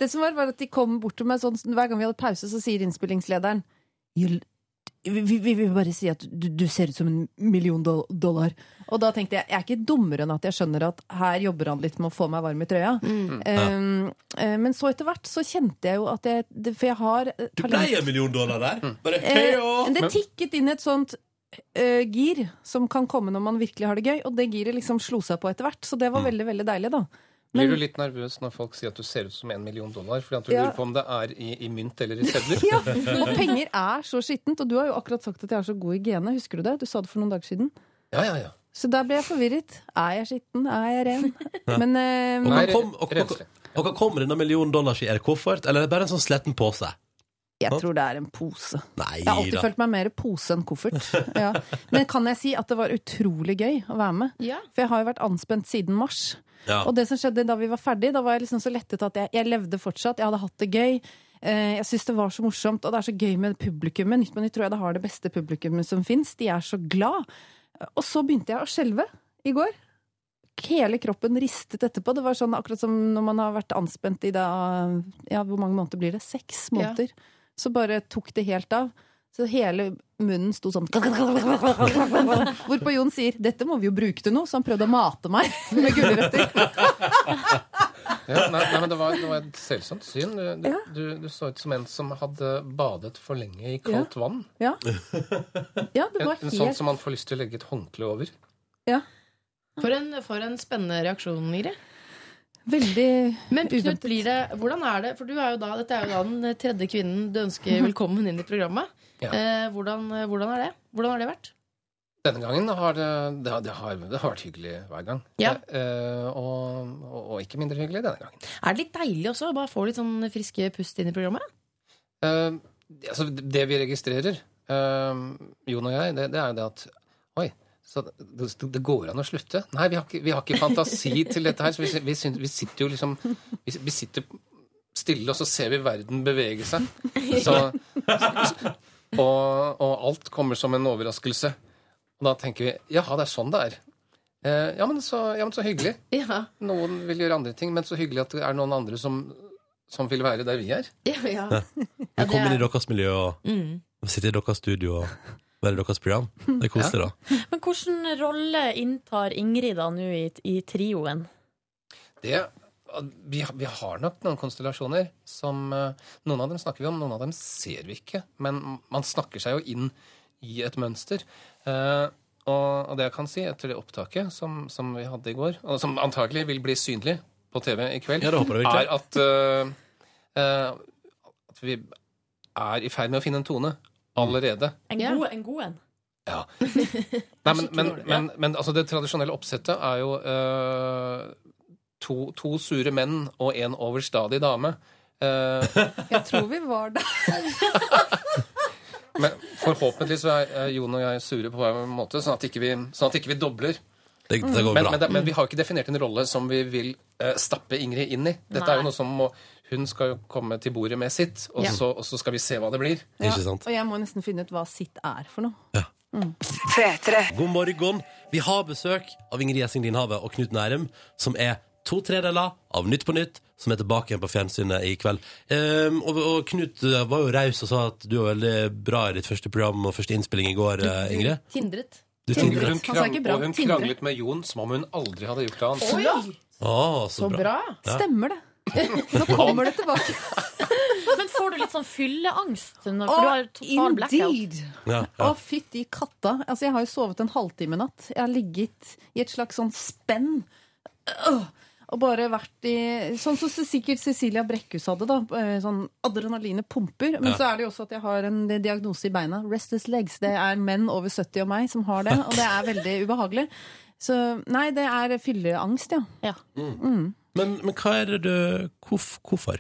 A: Det som var, var at de kom bort til meg sånn Hver gang vi hadde pause, så sier innspillingslederen You, vi, vi, vi vil bare si at du, du ser ut som en million doll- dollar. Og da tenkte jeg jeg er ikke dummere enn at jeg skjønner at her jobber han litt med å få meg varm i trøya.
B: Mm.
A: Um, eh, men så etter hvert så kjente jeg jo at jeg det- For jeg har eh,
B: Du ble
A: talent-
B: en million dollar der. Bare
A: Eh,
B: heia!
A: men det tikket inn et sånt eh, gir som kan komme når man virkelig har det gøy, og det giret liksom slo seg på etter hvert. Så det var
B: Mm.
A: veldig, veldig deilig, da.
L: Blir du litt nervøs når folk sier at du ser ut som en million dollar, fordi at du
A: Ja.
L: lurer på om det er i, i mynt eller i sedler?
A: [laughs] Ja, og penger er så skittent. Og du har jo akkurat sagt at jeg har så god hygiene. Husker du det? Du sa det for noen dager siden.
L: Ja, ja, ja.
A: Så der ble jeg forvirret. Er jeg skitten? Er jeg ren?
B: Ja.
A: Men eh,
B: Og hva kom, og, og, og, hva kommer denne million dollars i? Er det koffert, eller er det bare en sånn sletten pose?
A: jeg tror det er en pose.
B: Nei
A: Jeg har alltid
B: da.
A: følt meg mer pose enn koffert. Ja. Men kan jeg si at det var utrolig gøy å være med? For jeg har jo vært anspent siden mars.
B: Ja.
A: Og det som skjedde da vi var ferdig, da var jeg liksom så lettet at jeg, jeg levde fortsatt. Jeg hadde hatt det gøy. Eh, Jeg syns det var så morsomt, og det er så gøy med publikummet. Nytt på nytt tror jeg det har det beste publikummet som fins. De er så glad. Og så begynte jeg å skjelve i går. Hele kroppen ristet etterpå. Det var sånn akkurat som når man har vært anspent i da Ja, hvor mange måneder blir det? Seks
C: Ja.
A: måneder. Så bare tok det helt av. Så hele munnen sto sånn Hvorpå Jon sier 'dette må vi jo bruke til noe', så han prøvde å mate meg [laughs] med gulrøtter.
L: Ja, nei, nei, men det var, det var et selsomt syn. Du, du, du, du så ut som en som hadde badet for lenge i kaldt vann.
A: Ja. ja, det
L: En,
A: var
L: en sånn
A: helt
L: som man får lyst til å legge et håndkle over.
C: For en, for en spennende reaksjon, Ingrid.
A: Veldig
C: Men Knut, blir det, hvordan er det? For du er jo da, dette er jo da den tredje kvinnen du ønsker velkommen inn i programmet.
L: Ja.
C: Eh, hvordan, hvordan er det? Hvordan har det vært?
L: Denne gangen har det, det, har, det, har, det har vært hyggelig hver gang.
C: Ja.
L: Eh, og, og, og ikke mindre hyggelig denne gangen.
C: Er det litt deilig også? Bare få litt sånn friske pust inn i programmet?
L: Eh, altså, det vi registrerer, eh, Jon og jeg, det, det er jo det at Oi, så det, det går an å slutte? Nei, vi har ikke, vi har ikke fantasi til dette her. Så vi, vi, syn- vi sitter jo liksom vi, vi sitter stille, og så ser vi verden bevege seg. Så, og, og alt kommer som en overraskelse. Og da tenker vi jaha, det er sånn det er. Eh, ja, men så, ja, men så hyggelig. Noen vil gjøre andre ting, men så hyggelig at det er noen andre som, som vil være der vi er.
C: [laughs] Ja.
B: Du kom inn i deres miljø og
E: Mm.
B: og sitter i deres studio og være i deres program. Det er koselig, da.
E: Men hvilken rolle inntar Ingrid da nå i, i trioen?
L: Det, vi, vi har nok noen konstellasjoner som eh, Noen av dem snakker vi om, noen av dem ser vi ikke. Men man snakker seg jo inn i et mønster. Eh, og, og det jeg kan si etter det opptaket som, som vi hadde i går, og som antakelig vil bli synlig på TV i kveld,
B: Ja, det håper jeg virkelig.
L: er at, eh, eh, at vi er i ferd med å finne en tone allerede.
E: En god en? God en.
L: Nei, men, men, men, men altså det tradisjonelle oppsettet er jo eh, to, to sure menn og en overstadig dame. Eh,
A: [laughs] Jeg tror vi var der.
L: [laughs] men forhåpentlig så er eh, Jon og jeg sure på hver måte, sånn at ikke vi, sånn at ikke vi dobler.
B: Det- det går
L: men,
B: bra.
L: Men, det- men vi har jo ikke definert en rolle som vi vil eh, stappe Ingrid inn i. Dette er
A: Nei.
L: jo noe som må, hun skal jo komme til bordet med sitt, og,
A: Ja.
L: så, og så skal vi se hva det blir.
A: Ja, Og jeg må nesten finne ut hva sitt er for noe.
B: God morgen. Vi har besøk av Ingrid Gjessing Dinhavet og Knut Nærum, som er to tredeler av Nytt på Nytt, som er tilbake igjen på fjernsynet i kveld. Ehm, og, og Knut eh, var jo raus og sa at du var veldig bra i ditt første program og første innspilling i går, eh, Ingrid.
C: Tindret.
B: Du
L: Hun,
B: tindret.
L: hun,
C: Han sa ikke
L: krang,
C: bra,
L: og hun
C: tindret.
L: kranglet med Jon som om hun aldri hadde gjort det annet.
C: Oi!
B: Å, så, bra. Ja.
A: Stemmer
B: [laughs]
A: det. Nå kommer det tilbake.
E: Men får du litt sånn fylleangst? Når, for du har total blackout.
A: indeed!
B: Ja, ja.
A: Å, fytti katta. Altså, jeg har jo sovet en halvtime i natt. Jeg har ligget i et slags sånn spenn. Øh, Og bare vært i Sånn som sikkert Cecilia Brekkhus hadde, da. eh, Sånn adrenalinet pumper. Men
C: Ja.
A: så er det jo også at jeg har en diagnose i beina. Restless legs. Det er menn over 70 og meg som har det, og det er veldig ubehagelig. Så nei, det er fylleangst, ja. Mm.
B: Men, men hva er det du hvorf, Hvorfor?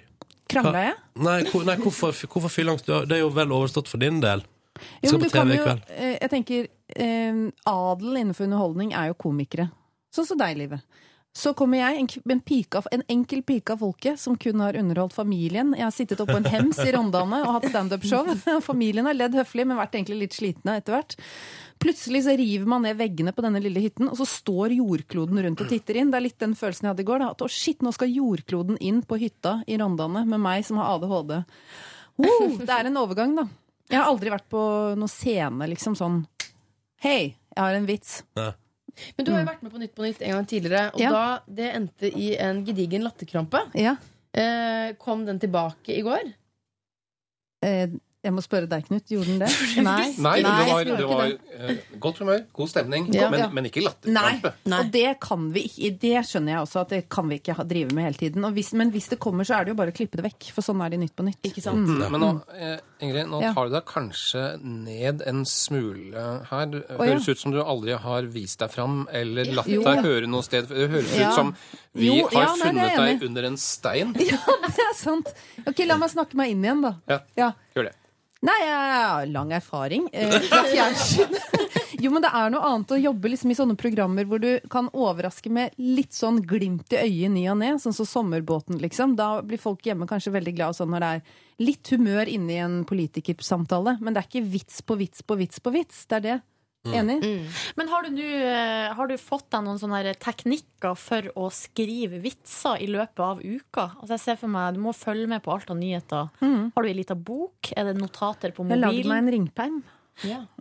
A: Krangla jeg?
B: Nei, hvor, nei hvorfor, hvorfor fylleangst? Du har- Det er jo vel overstått for din del. Du
A: Jo,
B: skal
A: men
B: på
A: du kan
B: TV i
A: jo,
B: kveld.
A: eh, jeg tenker eh, Adel innenfor underholdning er jo komikere. Sånn som deg, Live. Så kommer jeg, en, k- en, pike av, en enkel pike av folket, som kun har underholdt familien. Jeg har sittet oppå en hems i Rondane og hatt standup-show. [laughs] Familien har ledd høflig, men vært egentlig litt slitne etter hvert. Plutselig så river man ned veggene på denne lille hytten, og så står jordkloden rundt og titter inn. Det er litt den følelsen jeg hadde i går. Da, at å shit, nå skal jordkloden inn på hytta i Rondane med meg som har ADHD. Wow, det er en overgang, da. Jeg har aldri vært på noen scene liksom sånn Hei, jeg har en vits.
B: Nei.
C: Men du har jo vært med på Nytt på Nytt en gang tidligere, og
A: Ja.
C: da det endte i en gedigen latterkrampe. Eh, kom den tilbake i går?
A: Eh, jeg må spørre deg, Knut. Gjorde [laughs] den det? Nei.
L: Nei, det
A: jeg
L: var,
A: gjorde
L: det
A: ikke
L: var
A: det.
L: eh, godt humør, god stemning,
A: Ja.
L: men,
A: Ja.
L: men ikke
A: Nei,
L: latterkrampe.
A: og det kan vi ikke. Det skjønner jeg også at det kan vi ikke ha- drive med hele tiden. Og hvis, men hvis det kommer, så er det jo bare å klippe det vekk. For sånn er det i Nytt på Nytt. Ikke
L: Mm. Nei, men nå, eh, Ingrid, nå
A: Ja.
L: tar du deg kanskje ned en smule her. Du,
A: ja.
L: høres ut som du aldri har vist deg fram eller latt
A: Jo.
L: deg høre noe sted. Det høres
A: Ja.
L: ut som vi
A: Jo,
L: har
A: ja, nei, det er
L: funnet
A: jeg enig
L: deg under en stein.
A: [laughs] Ja, det er sant. Ok, la meg snakke meg inn igjen, da.
L: Ja,
A: Ja.
L: gjør det.
A: Nei, jeg har lang erfaring eh, fra fjernsyn. Jo, men det er noe annet å jobbe liksom i sånne programmer hvor du kan overraske med litt sånn glimt i øyet i ny og ne, sånn som Sommerbåten, liksom. Da blir folk hjemme kanskje veldig glad sånn når det er litt humør inne i en politikersamtale. Men det er ikke vits på vits på vits på vits. Det er det. Enig?
E: Men har du, nå, eh, har du fått deg noen sånne her teknikker for å skrive vitser i løpet av uka? Altså jeg ser for meg, Du må følge med på alt av nyheter.
A: Mm.
E: Har du ei lita bok? Er det notater på
A: Jeg har lagd meg
E: mobilen?
A: en ringperm.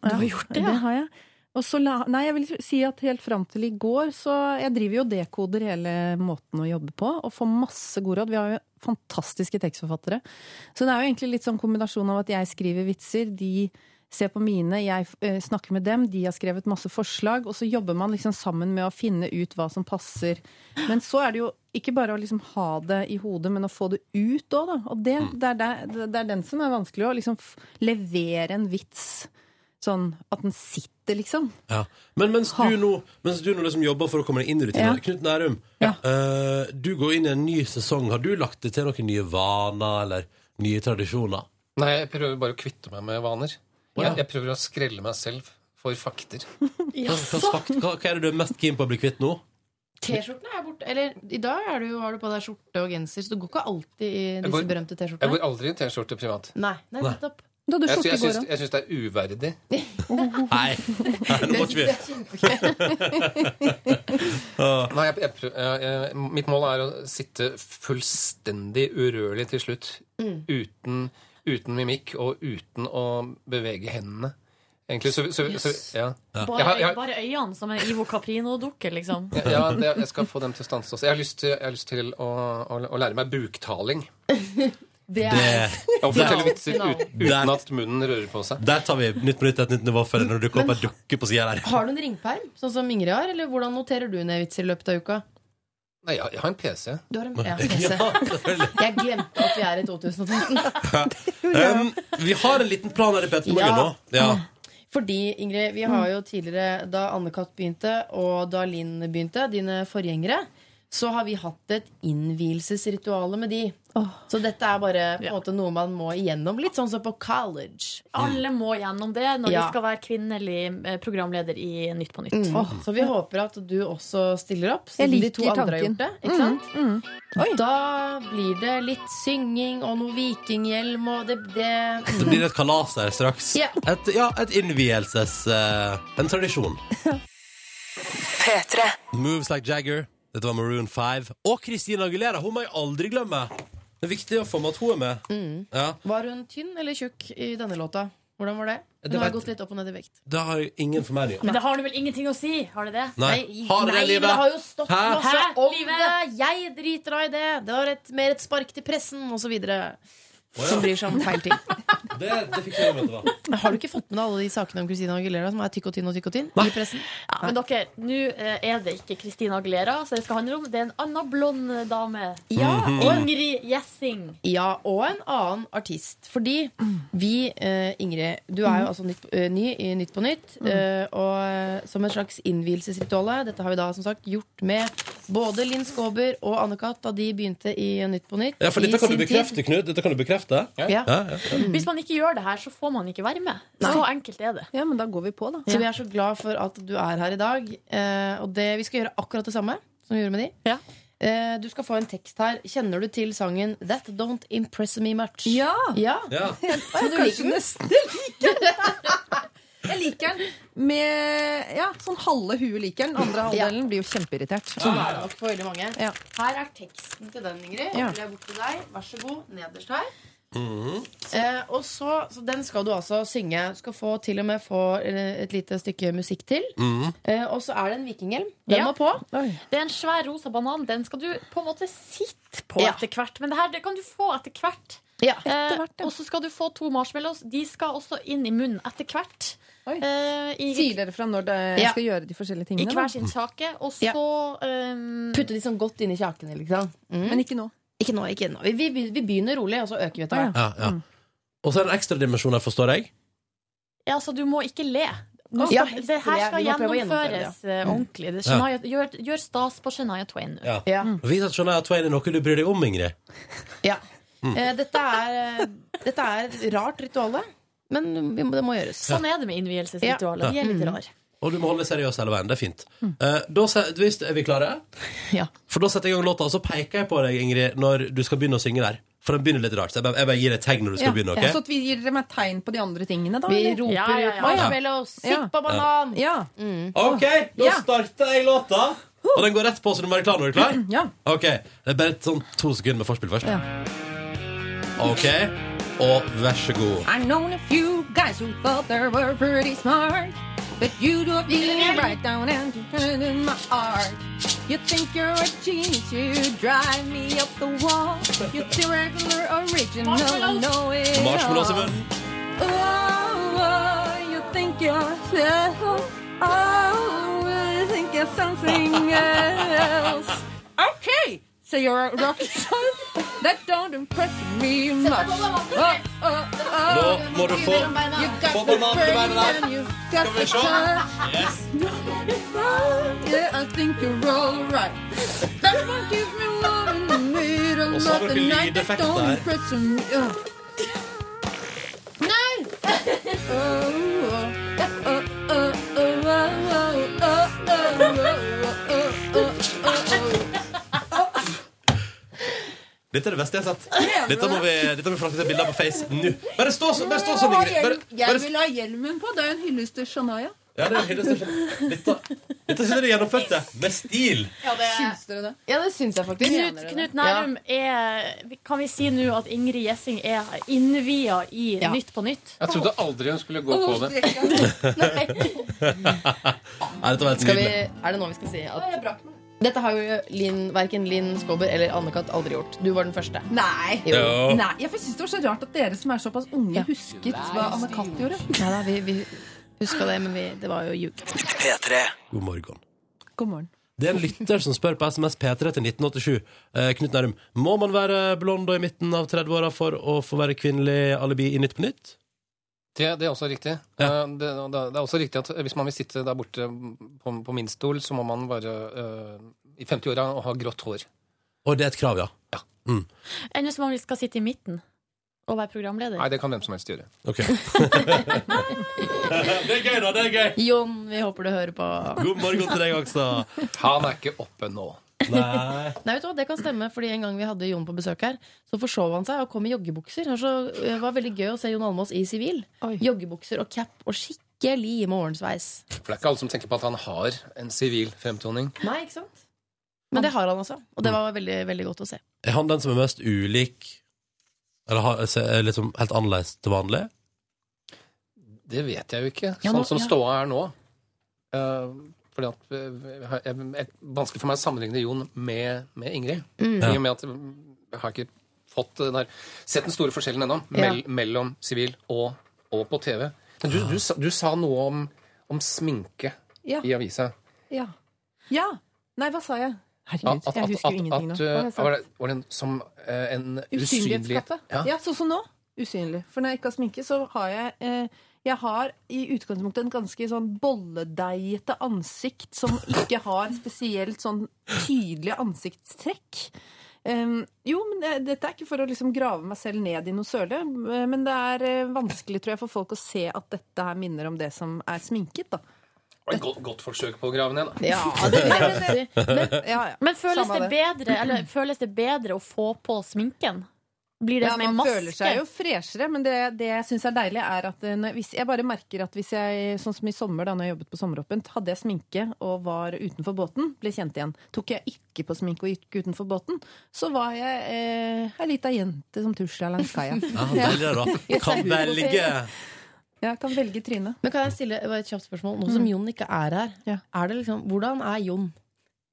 E: Du har gjort det, ja?
A: Det har jeg. Og så la, nei, jeg vil si at helt fram til i går, så jeg driver jo og dekoder hele måten å jobbe på, og får masse gode råd. Vi har jo fantastiske tekstforfattere. Så det er jo egentlig litt sånn kombinasjon av at jeg skriver vitser, de ser på mine, jeg eh, snakker med dem, de har skrevet masse forslag, og så jobber man liksom sammen med å finne ut hva som passer. Men så er det jo ikke bare å liksom ha det i hodet, men å få det ut òg, da. Og det, det, er der, det er den som er vanskelig, å liksom f- levere en vits sånn at den sitter, liksom.
B: Ja. Men mens du nå, mens du nå liksom jobber for å komme deg inn i rutinene,
A: Ja.
B: Knut Nærum, eh, du går inn i en ny sesong. Har du lagt deg til noen nye vaner eller nye tradisjoner?
L: Nei, jeg prøver bare å kvitte meg med vaner. Jeg, jeg prøver å skrelle meg selv for fakter.
B: Hva, slags fakt- hva, hva er det du er mest keen på å bli kvitt nå?
C: T-skjortene er borte. Eller i dag er du, har du på deg skjorte og genser, så du går ikke alltid i
L: Jeg
C: disse
L: går-
C: berømte
L: Jeg går
C: T-skjortene.
L: aldri i T-skjorte privat.
C: Nei, nei,
L: Nei.
C: nettopp.
A: Da
L: Jeg, sy- jeg, syns, jeg syns det er uverdig.
B: Nei, nå
A: [laughs]
B: må ikke vi
L: Nei, jeg, jeg, prø- jeg, jeg, mitt mål er å sitte fullstendig urørlig til slutt.
C: Mm.
L: Uten, uten mimikk og uten å bevege hendene. Egentlig, så, så, så, ja. Jeg,
E: Bare,
L: har- jeg, har-
E: bare øynene som en Ivo Caprino-dukke, liksom.
A: Mm.
L: ja, det, jeg skal få dem til å stanse også. Jeg har lyst til, jeg har lyst til å, å, å lære meg buktaling.
C: Det
L: Å fortelle vitser
C: Finalen.
L: ut, uten at munnen rører på seg.
B: Der tar vi Nytt på nytt et nytt nivå før når det dukker opp en dukke på
A: [laughs]
B: sida der.
C: Har du en ringperm, sånn som Ingrid har? Eller hvordan noterer du ned vitser i løpet av uka?
L: Nei, jeg, jeg har en PC.
C: Du har en ja, PC. Jeg glemte at vi er i 2013.
B: Um, vi har en liten plan her i Petter Morgen nå.
C: Ja.
B: Ja.
C: Fordi, Ingrid, vi har jo tidligere, da Anne-Kat. begynte, og da Linn begynte, dine forgjengere, så har vi hatt et innvielsesrituale med de. Så dette er bare på en måte noe man må igjennom, litt sånn som på college.
E: Alle må gjennom det når
C: Ja.
E: de skal være kvinnelig eh, programleder i Nytt på nytt.
C: Mm. Så vi håper at du også stiller opp,
E: Jeg
C: siden de
E: liker
C: to andre har
E: tanken. Mm,
C: gjort det. Ikke sant? Da blir det litt synging og noe vikinghjelm og det, det
B: Det blir et kalas her straks.
C: Ja.
B: Et, ja, et innvielses... eh, en tradisjon.
M: P3.
B: Moves Like Jagger. Dette var Maroon 5. Og Christina Aguilera. Hun må jeg aldri glemme. Det er viktig å få med at hun er med. Ja.
C: Var hun tynn eller tjukk i denne låta? Hvordan var det?
B: Det
C: Hun har
B: vet-
C: gått litt opp og ned i vekt.
B: Det har jeg ingen formening om.
E: Men det har du vel ingenting å si? Har det det?
B: Nei. Har dere
C: Nei, men
B: livet?
C: det har jo stått
B: Hæ?
C: masse
E: Hæ,
C: om
E: livet?
C: det! Jeg driter av i det! Det var et, mer et spark til pressen, osv. Som bryr seg om feil ting.
B: Det, det fikk jeg med meg.
C: Har du ikke fått med deg alle de sakene om Christina Aguilera som er tykk og tynn og tykk og tynn? I pressen?
E: Ja, men dere, nå eh, er det ikke Christina Aguilera som det skal handle om. Det er en annen blond dame.
C: Ja,
A: Mm.
C: Mhm. og-
E: Ingrid Gjessing.
C: Ja, og en annen artist. Fordi vi, eh, Ingrid, du er jo altså nytt, eh, ny i Nytt på Nytt. eh, og eh, som et slags innvielsesrituale. Dette har vi da som sagt gjort med både Linn Skåber og Anne-Kat. da de begynte i Nytt på Nytt.
B: Ja, for dette
C: i
B: kan du
C: sin tid.
B: bekrefte, Knut. Dette kan du bekrefte.
C: Ja.
B: Ja, ja.
E: Hvis man ikke gjør det her, så får man ikke være med. Så enkelt er det.
A: Ja, men da går vi på, da.
C: Så vi er så glad for at du er her i dag. Eh, og det, vi skal gjøre akkurat det samme som vi gjorde med de. Eh, du skal få en tekst her. Kjenner du til sangen That Don't Impress Me Much? Ja!
B: Ja.
C: Så du liker den?
A: Jeg liker den med ja, sånn halve huet liker den. Andre halvdelen blir jo kjempeirritert.
C: Sånn er det nok for veldig mange.
A: Ja.
C: Her er teksten til den, Ingrid.
A: Ja.
C: Jeg vil ha bort til deg. Vær så god. Nederst her. Eh, og så, så Den skal du altså synge. Du skal få, til og med få eh, et lite stykke musikk til.
B: Mm.
C: Eh, og så er det en vikinghjelm. Den
E: Ja.
C: må på.
E: Det er en svær rosa banan. Den skal du på en måte sitte på
C: Ja.
E: etter hvert. Men det her det kan du få etter hvert. Eh, og så skal du få to marshmallows. De skal også inn i munnen etter hvert. Eh, i,
A: Sier dere fra når dere
E: Ja.
A: skal gjøre de forskjellige
E: I
A: tingene? da?
E: hver sin kjake. Og så
A: Ja.
E: ehm,
C: Putte de sånn godt inn i kjakene. Liksom.
A: Men ikke nå.
C: Ikke nå, ikke nå. Vi, vi, vi begynner rolig, og så øker vi etter hvert.
B: Ja, ja. Og så er det en ekstra dimensjon her, forstår jeg.
E: Ja, så du må ikke le. Nå
C: Ja,
E: skal, det her
C: le.
E: skal
C: Vi må prøve å gjennomføre det, ja.
E: gjennomføres eh, ordentlig. Det,
B: Mm. Ja.
E: Shania, gjør, gjør stas på Shania Twain.
B: Ja. Vis at Shania Twain er noe du bryr deg om, Ingrid.
C: Ja.
B: Mm.
C: Eh, dette, er, eh, dette er et rart ritual, men vi må, det må gjøres.
B: Sånn
E: er det med
B: Ja.
E: innvielsesritualet. De er
B: Mm.
E: litt rare.
B: Og du må holde deg seriøs hele veien. Det er fint.
A: Mm.
B: Eh, da, se- hvis, er vi
A: [laughs]
B: klare?
E: Ja.
B: For da setter jeg i gang låta, og så peker jeg på deg, Ingrid, når du skal begynne å synge der. For den begynner litt rart. Så jeg bare, jeg bare gir deg et tegn når du skal begynne. ok?
A: Så at vi gir dere meg tegn på de andre tingene, da?
C: Vi
A: eller?
C: roper Ja, ja, ja. ut marshmallows, sitt på banan.
A: Ja.
B: Mm. OK, da
A: Ja.
B: starter jeg låta. Og den går rett på, så du må være klar når du er klar.
A: [clears throat] Ja.
B: Ok, Det er bare et sånn to sekunder med forspill først. OK, og vær så god.
M: I've known a few guys who thought they were pretty smart, but you do it really right down and you turn in my art. You think you're a genius, you drive me up the wall. You're the regular original, I know it
B: Marshmallows i
M: all.
B: munnen.
M: Oh, you think you're special. Oh, you think you're something else. Okay, so you're a rock star. That don't impress me much. Oh, oh, oh.
B: Nå må du få-
M: You got
B: få
M: the
B: banan til
M: brain
B: beina.
M: and you've got
B: Skal vi
M: the
B: se?
M: touch.
B: Yes.
M: Yeah, I think you're all right. That won't give me more in the middle
B: Og
M: of
B: så har
M: the
B: dere
M: night. That
B: lydeffekter
M: don't
B: her.
M: impress me. Uh. Nei!
B: Dette er det beste jeg har sett. Dette må vi, dette må vi frakte til bilder på Face nå. Bare stå sånn, bare stå sånn, Ingrid. Bare,
A: Jeg
B: bare,
A: vil ha hjelmen på. Det er jo en hyllest til Shania.
B: ja, det er hyggelig, det er sånn. dette, dette synes jeg dere gjennomførte med stil.
A: Syns dere det?
C: Ja, det syns jeg faktisk.
E: Knut, Knut Nærum er Kan vi si nå at Ingrid Gjessing er innvia i
L: Ja.
E: Nytt på nytt?
L: Jeg trodde aldri hun skulle gå
E: Å,
L: på det.
B: Nei, dette var helt
C: Skal vi,
B: nydelig.
C: er det nå vi skal si at dette har jo Linn, verken Linn Skåber eller Anne-Kat. aldri gjort. Du var den første.
A: Nei.
C: Jo.
A: Nei. Jeg syns det var så rart at dere som er såpass unge, husket hva Anne-Kat. gjorde.
C: Nei da, vi, vi huska det, men vi, det var jo ljug.
B: God morgen.
A: God morgen.
B: Det er en lytter som spør på SMS P3 til 1987. Eh, Knut Nærum, må man være blond og i midten av 30-åra for å få være kvinnelig alibi i Nytt på nytt?
L: Det, det er også riktig. Eh, Det, og det det er også riktig at hvis man vil sitte der borte på, på min stol, så må man være eh, i 50-åra og ha grått hår.
B: Og det er et krav, ja.
E: Enn hvis man skal sitte i midten og være programleder?
L: Nei, det kan hvem som helst gjøre.
B: Ok. det er gøy, da. Det er gøy.
C: Jon, vi håper du hører på.
B: God morgen til deg også.
L: Han er ikke oppe nå.
B: Nei.
C: Nei, vet du hva, Det kan stemme, fordi en gang vi hadde Jon på besøk her, så forsov han seg og kom i joggebukser. Og så det var veldig gøy å se Jon Almaas i sivil. Joggebukser og cap og skikkelig morgensveis.
L: For det er ikke alle som tenker på at han har en sivil fremtoning.
C: Nei, ikke sant? Men det har han altså, og det var veldig, veldig godt å se.
B: Er han den som er mest ulik Eller har, se- er liksom helt annerledes til vanlig?
L: Det vet jeg jo ikke,
B: Ja, nå-
L: sånn som
B: ja.
L: ståa er nå. Eh, fordi at eh, jeg, jeg, jeg, Vanskelig for meg å sammenligne Jon med, med Ingrid.
B: Mm.
L: I og med at mm, jeg har ikke fått det der, sett den store forskjellen ennå mell, mellom sivil og, og på TV. Men du, du, sa- du sa noe om, om sminke
A: Ja.
L: i avisa.
A: Ja. ja. Nei, hva sa jeg?
L: At,
A: Herregud,
L: at,
A: jeg
L: at,
A: husker ingenting
L: at,
A: nå. Hva
L: eh,
A: sa jeg?
L: var, det, var det en, som eh, en usynlighet
A: Usynlighetsskatte. Ja. sånn som nå. Usynlig. For når jeg ikke har sminke, så har jeg eh, Jeg har i utgangspunktet en ganske sånn bolledeigete ansikt som ikke har spesielt sånn tydelige ansiktstrekk. Ehm, jo, men det, dette er ikke for å liksom grave meg selv ned i noe søle. eh, Men det er eh, vanskelig tror jeg, for folk å se at dette her minner om det som er sminket. da.
L: Det var et godt, godt forsøk på å grave ned, da.
A: Ja, det vil jeg si. Men, ja, ja.
E: Men føles
A: Samme
E: det,
A: det.
E: bedre, eller, føles det bedre å få på sminken? Blir det
A: ja,
E: som en
A: man
E: maske?
A: føler seg jo freshere, men det, det jeg syns er deilig, er at eh, når, hvis, jeg bare merker at hvis jeg, sånn som i sommer, da når jeg jobbet på Sommeråpent, hadde jeg sminke og var utenfor båten, ble kjent igjen. Tok jeg ikke på sminke og gikk utenfor båten, så var jeg eh, ei lita jente som tusla langs kaia.
B: Ja, deilig da.
A: Ja.
B: Kan velge.
A: Ja, kan velge tryne.
C: Men kan jeg stille bare et kjapt spørsmål? Nå som
A: Mm.
C: Jon ikke er her, er det liksom, hvordan er Jon?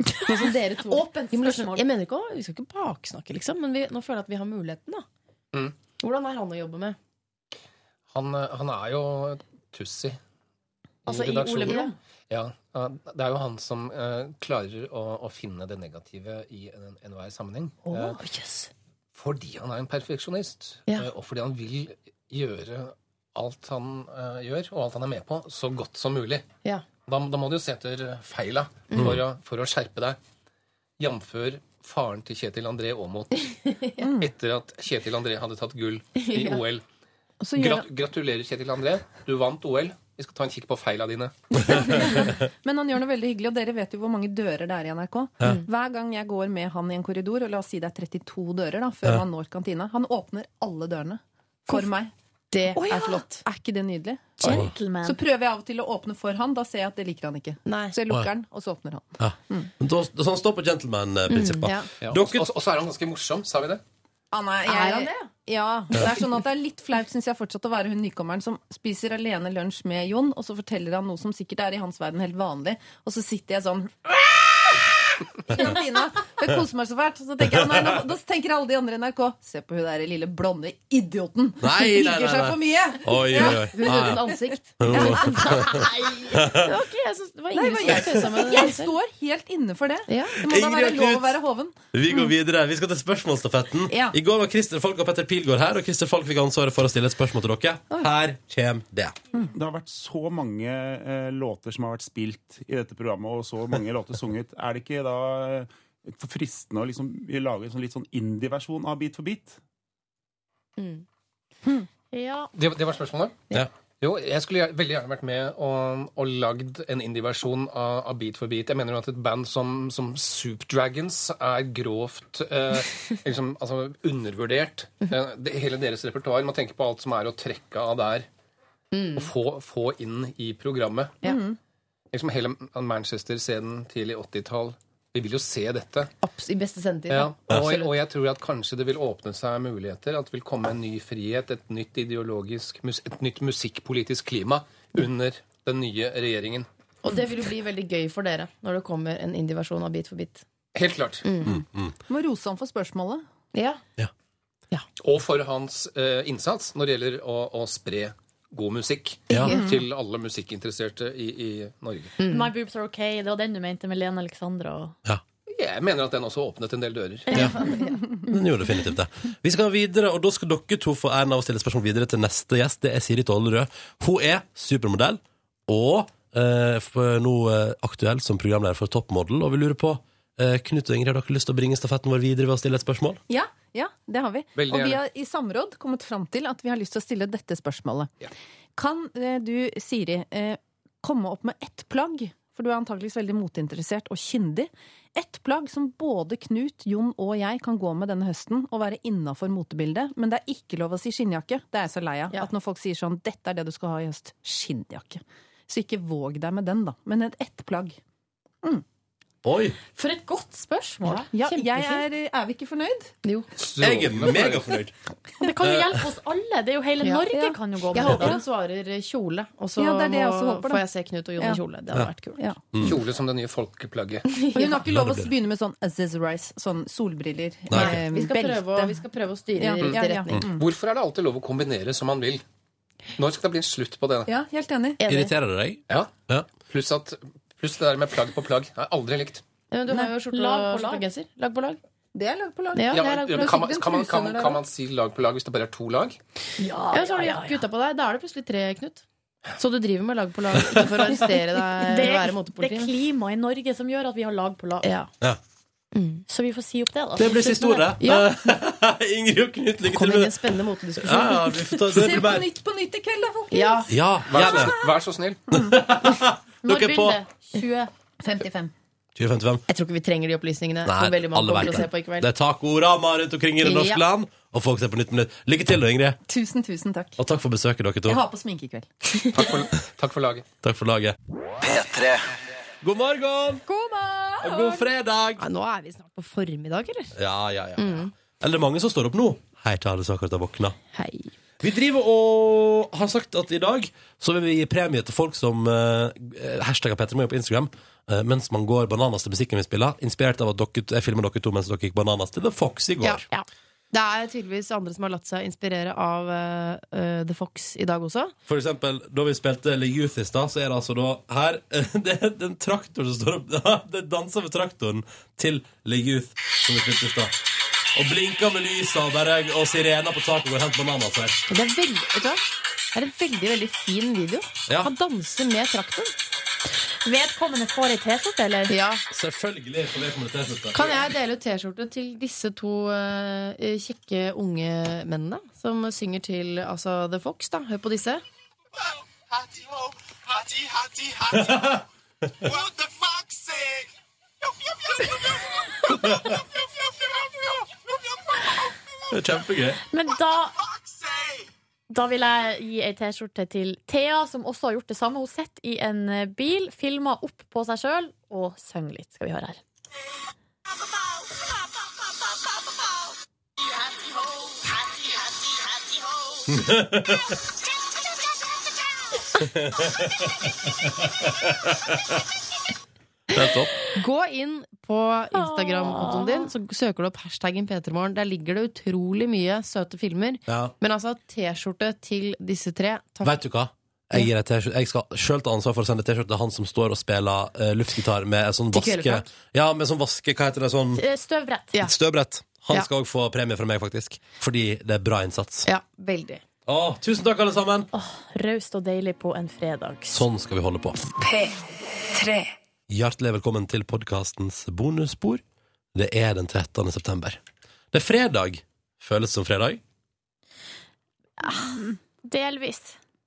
C: Nå som dere
A: [laughs]
C: to Åpent
E: spørsmål.
C: Jeg mener ikke å, Vi skal ikke baksnakke, liksom, men vi, nå føler jeg at vi har muligheten. da
L: Mm.
C: Hvordan er han å jobbe med?
L: Han, eh, han er jo Tussi.
C: Altså, i
L: redaksjonen.
C: Ole Brumm?
L: Ja. ja, Det er jo han som eh, klarer å, å finne det negative i en- enhver sammenheng.
C: Åh,
L: Eh, Fordi han er en perfeksjonist.
C: Ja.
L: eh, Og fordi han vil gjøre alt han eh, gjør, og alt han er med på, så godt som mulig.
C: Ja.
L: Da, da må du jo se etter feila
C: Mm.
L: for, å, for å skjerpe deg. Jamfør faren til Kjetil André Aamodt
A: [laughs]
L: etter at Kjetil André hadde tatt gull i
A: Mm. [laughs] Ja.
L: OL.
A: Og så gjør
L: Grat gratulerer, Kjetil André. Du vant OL. Vi skal ta en kikk på feila dine.
A: [laughs] Men han gjør noe veldig hyggelig, og dere vet jo hvor mange dører det er i NRK.
L: Ja.
A: Hver gang jeg går med han i en korridor, og la oss si det er 32 dører da, før
L: Ja.
A: han når kantina, han åpner alle dørene for meg.
C: Det
A: Å ja!
C: er flott.
A: Er ikke det nydelig?
E: Gentleman.
A: Så prøver jeg av og til å åpne for han, da ser jeg at det liker han ikke. Så jeg
B: Å
A: lukker
B: ja.
A: den, og så åpner han.
B: Ja. Men Da, så han står på gentleman-prinsippet.
A: Mm, ja.
L: Ja, og, og, og så er han ganske morsom, sa vi det?
A: Ah, nei, jeg,
C: Er han det?
A: Ja. Det er sånn at det er litt flaut, syns jeg, fortsatt å være hun nykommeren som spiser alene lunsj med Jon, og så forteller han noe som sikkert er i hans verden helt vanlig, og så sitter jeg sånn [laughs] i kantina. Jeg koser meg så fælt. Så tenker jeg, nei, nå, da tenker alle de andre i NRK Se på hun der lille blonde idioten!
B: Nei, nei, nei,
A: Hun liker seg
B: nei.
A: for mye!
B: Oi,
A: Ja.
B: oi, oi. Hun gjorde en Ah, ja. [laughs]
C: ansikt.
A: Nei!
C: Det var ikke jeg som det var
A: Nei, det
C: ingen
A: var
C: som
A: jeg
C: tøysa med det.
A: Jeg står helt inne for det. Det må da
B: Ingrid
A: være
B: og
A: lov
B: Knut.
A: å være hoven.
B: Vi går videre. Vi skal til spørsmålsstafetten.
A: Ja.
B: I går var Christer Falk og Petter Pilgaard her, og Christer Falk fikk ansvaret for å stille et spørsmål til dere. Her kommer det.
N: Det har vært så mange eh, låter som har vært spilt i dette programmet, og så mange låter sunget. Er det ikke da eh, for fristende å liksom lage en sånn litt sånn indie-versjon av Beat for beat?
E: Ja.
L: Det, det var spørsmålet?
B: Ja.
L: Jo, jeg skulle gjer- veldig gjerne vært med og, og lagd en indie-versjon av, av Beat for beat. Jeg mener jo at et band som, som Soup Dragons er grovt eh, liksom, altså, undervurdert. Eh, det, hele deres repertoar. Man tenker på alt som er å trekke av der. Og få, få inn i programmet. Liksom hele Manchester-scenen tidlig 80-tall. Vi vil jo se dette.
C: Abs- I beste sendetid.
L: Ja,
C: da.
L: og,
C: Absolutt.
L: og jeg tror at kanskje det vil åpne seg muligheter. At det vil komme en ny frihet, et nytt ideologisk, mus- et nytt musikkpolitisk klima under den nye regjeringen.
C: Og det vil jo bli veldig gøy for dere når det kommer en indie-versjon av Bit for bit.
L: Helt klart.
A: Må rose han for spørsmålet.
C: Ja.
L: Og for hans eh, innsats når det gjelder å, å spre god musikk
B: Ja.
A: Mm.
L: til alle musikkinteresserte i, i Norge.
C: Mm.
E: My boobs are okay. Det var den du mente med Lene Alexandra. Og...
L: Jeg mener at den også åpnet en del dører.
B: Den gjorde definitivt det. Vi skal videre, og da skal dere to få æren av å stille spørsmål videre til neste gjest. Det er Siri Tollerød. Hun er supermodell, og eh, for- nå eh, aktuell som programleder for Toppmodell. Og vi lurer på, eh, Knut og Ingrid, har dere lyst til å bringe stafetten vår videre ved å stille et spørsmål?
A: Ja, ja, det har vi.
B: Veldig
A: og vi
B: gjerne.
A: har i samråd kommet fram til at vi har lyst til å stille dette spørsmålet. Kan eh, du, Siri, eh, komme opp med ett plagg, for du er antakeligvis veldig moteinteressert og kyndig, ett plagg som både Knut, Jon og jeg kan gå med denne høsten og være innafor motebildet, men det er ikke lov å si skinnjakke. Det er jeg så lei av. At når folk sier sånn 'dette er det du skal ha i høst', skinnjakke. Så ikke våg deg med den, da. Men et ett plagg.
B: Oi!
E: For et godt spørsmål!
A: Ja, jeg er, er vi ikke [laughs] fornøyd?
C: Jo.
B: Jeg er megafornøyd.
E: Og Det kan
L: Eh.
E: jo hjelpe oss alle. Det er jo Hele
C: Ja.
E: Norge
C: Ja.
E: kan jo gå med
C: Jeg håper
E: det.
C: hun svarer eh, kjole, og så
A: Ja, det er det jeg også
C: må,
A: håper, da.
C: får jeg se Knut og Jon
A: Ja.
C: i kjole. Det hadde vært kult.
L: Kjole som det nye folkeplagget.
A: Og hun har ikke
L: Ja.
A: lov å begynne med sånn Aziz Rice, sånn solbriller,
L: Nei.
A: eh,
C: Vi skal,
A: belte.
C: prøve å, vi skal prøve å styre i
A: Ja,
C: riktig
A: ja, ja.
C: retning.
A: Mm.
L: Hvorfor er det alltid lov å kombinere som man vil? Når skal det bli en slutt på det? da?
A: Ja, helt enig.
B: Irriterer det deg?
L: Ja. Pluss, at, pluss det der med plagg på plagg. Jeg har aldri likt.
C: Ja, men du har jo skjorte
A: Lag på lag.
C: og skjorte og genser. Lag på lag.
A: Det er lag på lag.
C: Ja,
L: Ja,
C: det er lag på
L: men
C: lag.
L: kan, man, kan, man, kan, man, kan man si lag på lag hvis det bare er to lag?
C: Ja, så har du jakke utapå deg. Da er det plutselig tre, Knut. Så du driver med lag på lag ikke for å arrestere [laughs] deg
E: Det
C: eller være
E: er, det er
C: motepoliti.
E: klimaet i Norge som gjør at vi har lag på lag.
B: Ja.
E: Så vi får si opp det, da.
B: Det blir siste ordet.
E: Ja.
B: [laughs] Ingrid og Knut, lykke til
C: Kom inn i
B: med
C: en spennende motediskusjon.
B: Ja, ja, vi får ta det blir mer.
A: Nytt på nytt i kveld, da, folkens.
C: Ja.
B: Ja,
L: Vær så,
B: gjerne.
L: vær så snill.
B: Dere er på
A: 20. 55.
B: 2055.
C: Jeg tror ikke vi trenger de opplysningene.
B: Nei,
C: som veldig mange
B: alle
C: kommer
B: vet
C: til å se på i
B: det.
C: kveld.
B: Det er tacorama rundt omkring i det norske
A: Ja.
B: land, og folk ser på Nytt Minutt. Lykke til, da, Ingrid.
A: Tusen, tusen takk.
B: Og takk for besøket, dere to.
A: Jeg har på sminke i kveld.
B: Takk for laget. Takk for laget. P3. God morgen!
A: God morgen!
B: Og god fredag!
C: Ja, nå er vi snart på formiddag, eller?
B: Ja, ja, ja.
C: Mm.
B: Eller det er mange som står opp nå. Hei til alle som akkurat har våkna.
C: Hei.
B: Vi driver og har sagt at i dag så vil vi gi premie til folk som uh, hashtagger Petter Moe på Instagram eh, mens man går bananas til musikken vi spiller. Inspirert av at dere, jeg filmet dere to mens dere gikk bananas til The Fox i går.
C: Ja, ja. Det er tydeligvis andre som har latt seg inspirere av eh, eh, The Fox i dag også.
B: For eksempel, da vi spilte Le Youth i stad, så er det altså da her [laughs] Det er den traktoren som står opp [laughs] Det danser ved traktoren til Le Youth, som vi spilte i stad. Og blinker med lysa og bare Og sirener på taket og går helt bananas her.
C: Og Det er, veldig, vet du hva? det er en veldig veldig fin video.
B: Ja.
C: Han danser med traktoren.
E: Vedkommende får ei T-skjorte, eller?
C: Ja.
B: Selvfølgelig får vedkommende T-skjorte.
C: Kan jeg dele ut T-skjorte til disse to eh, kjekke unge mennene som synger til altså, The Fox? da? Hør på disse.
B: Det er kjempegøy.
E: Men da Da vil jeg gi ei T-skjorte til Thea, som også har gjort det samme. Hun sitter i en eh, bil, filmer opp på seg sjøl og synger litt. Skal vi høre her.
B: Det er topp.
C: Gå inn på Instagram-kontoen din, så søker du opp hashtaggen P3morgen. Der ligger det utrolig mye søte filmer.
B: Ja.
C: Men altså, T-skjorte til disse tre. Takk.
B: Vet du hva? Jeg, gir deg T-skjorte. jeg skal sjøl ta ansvar for å sende T-skjorte til han som står og spiller eh, luftgitar med en sånn
C: Til
B: vaske...
C: kvelertak.
B: Ja, med sånn vaske... Hva heter det? Sånn
E: Eh, Støvbrett.
B: støvbrett. Han
E: Ja.
B: skal òg få premie fra meg, faktisk. Fordi det er bra innsats.
C: Ja, veldig.
B: Å, tusen takk, alle sammen!
E: Raust og deilig på en fredag.
B: Sånn skal vi holde på.
E: P3.
B: Hjertelig velkommen til podkastens bonusspor. Det er den 13. september. Det er fredag. Føles som fredag.
E: Delvis.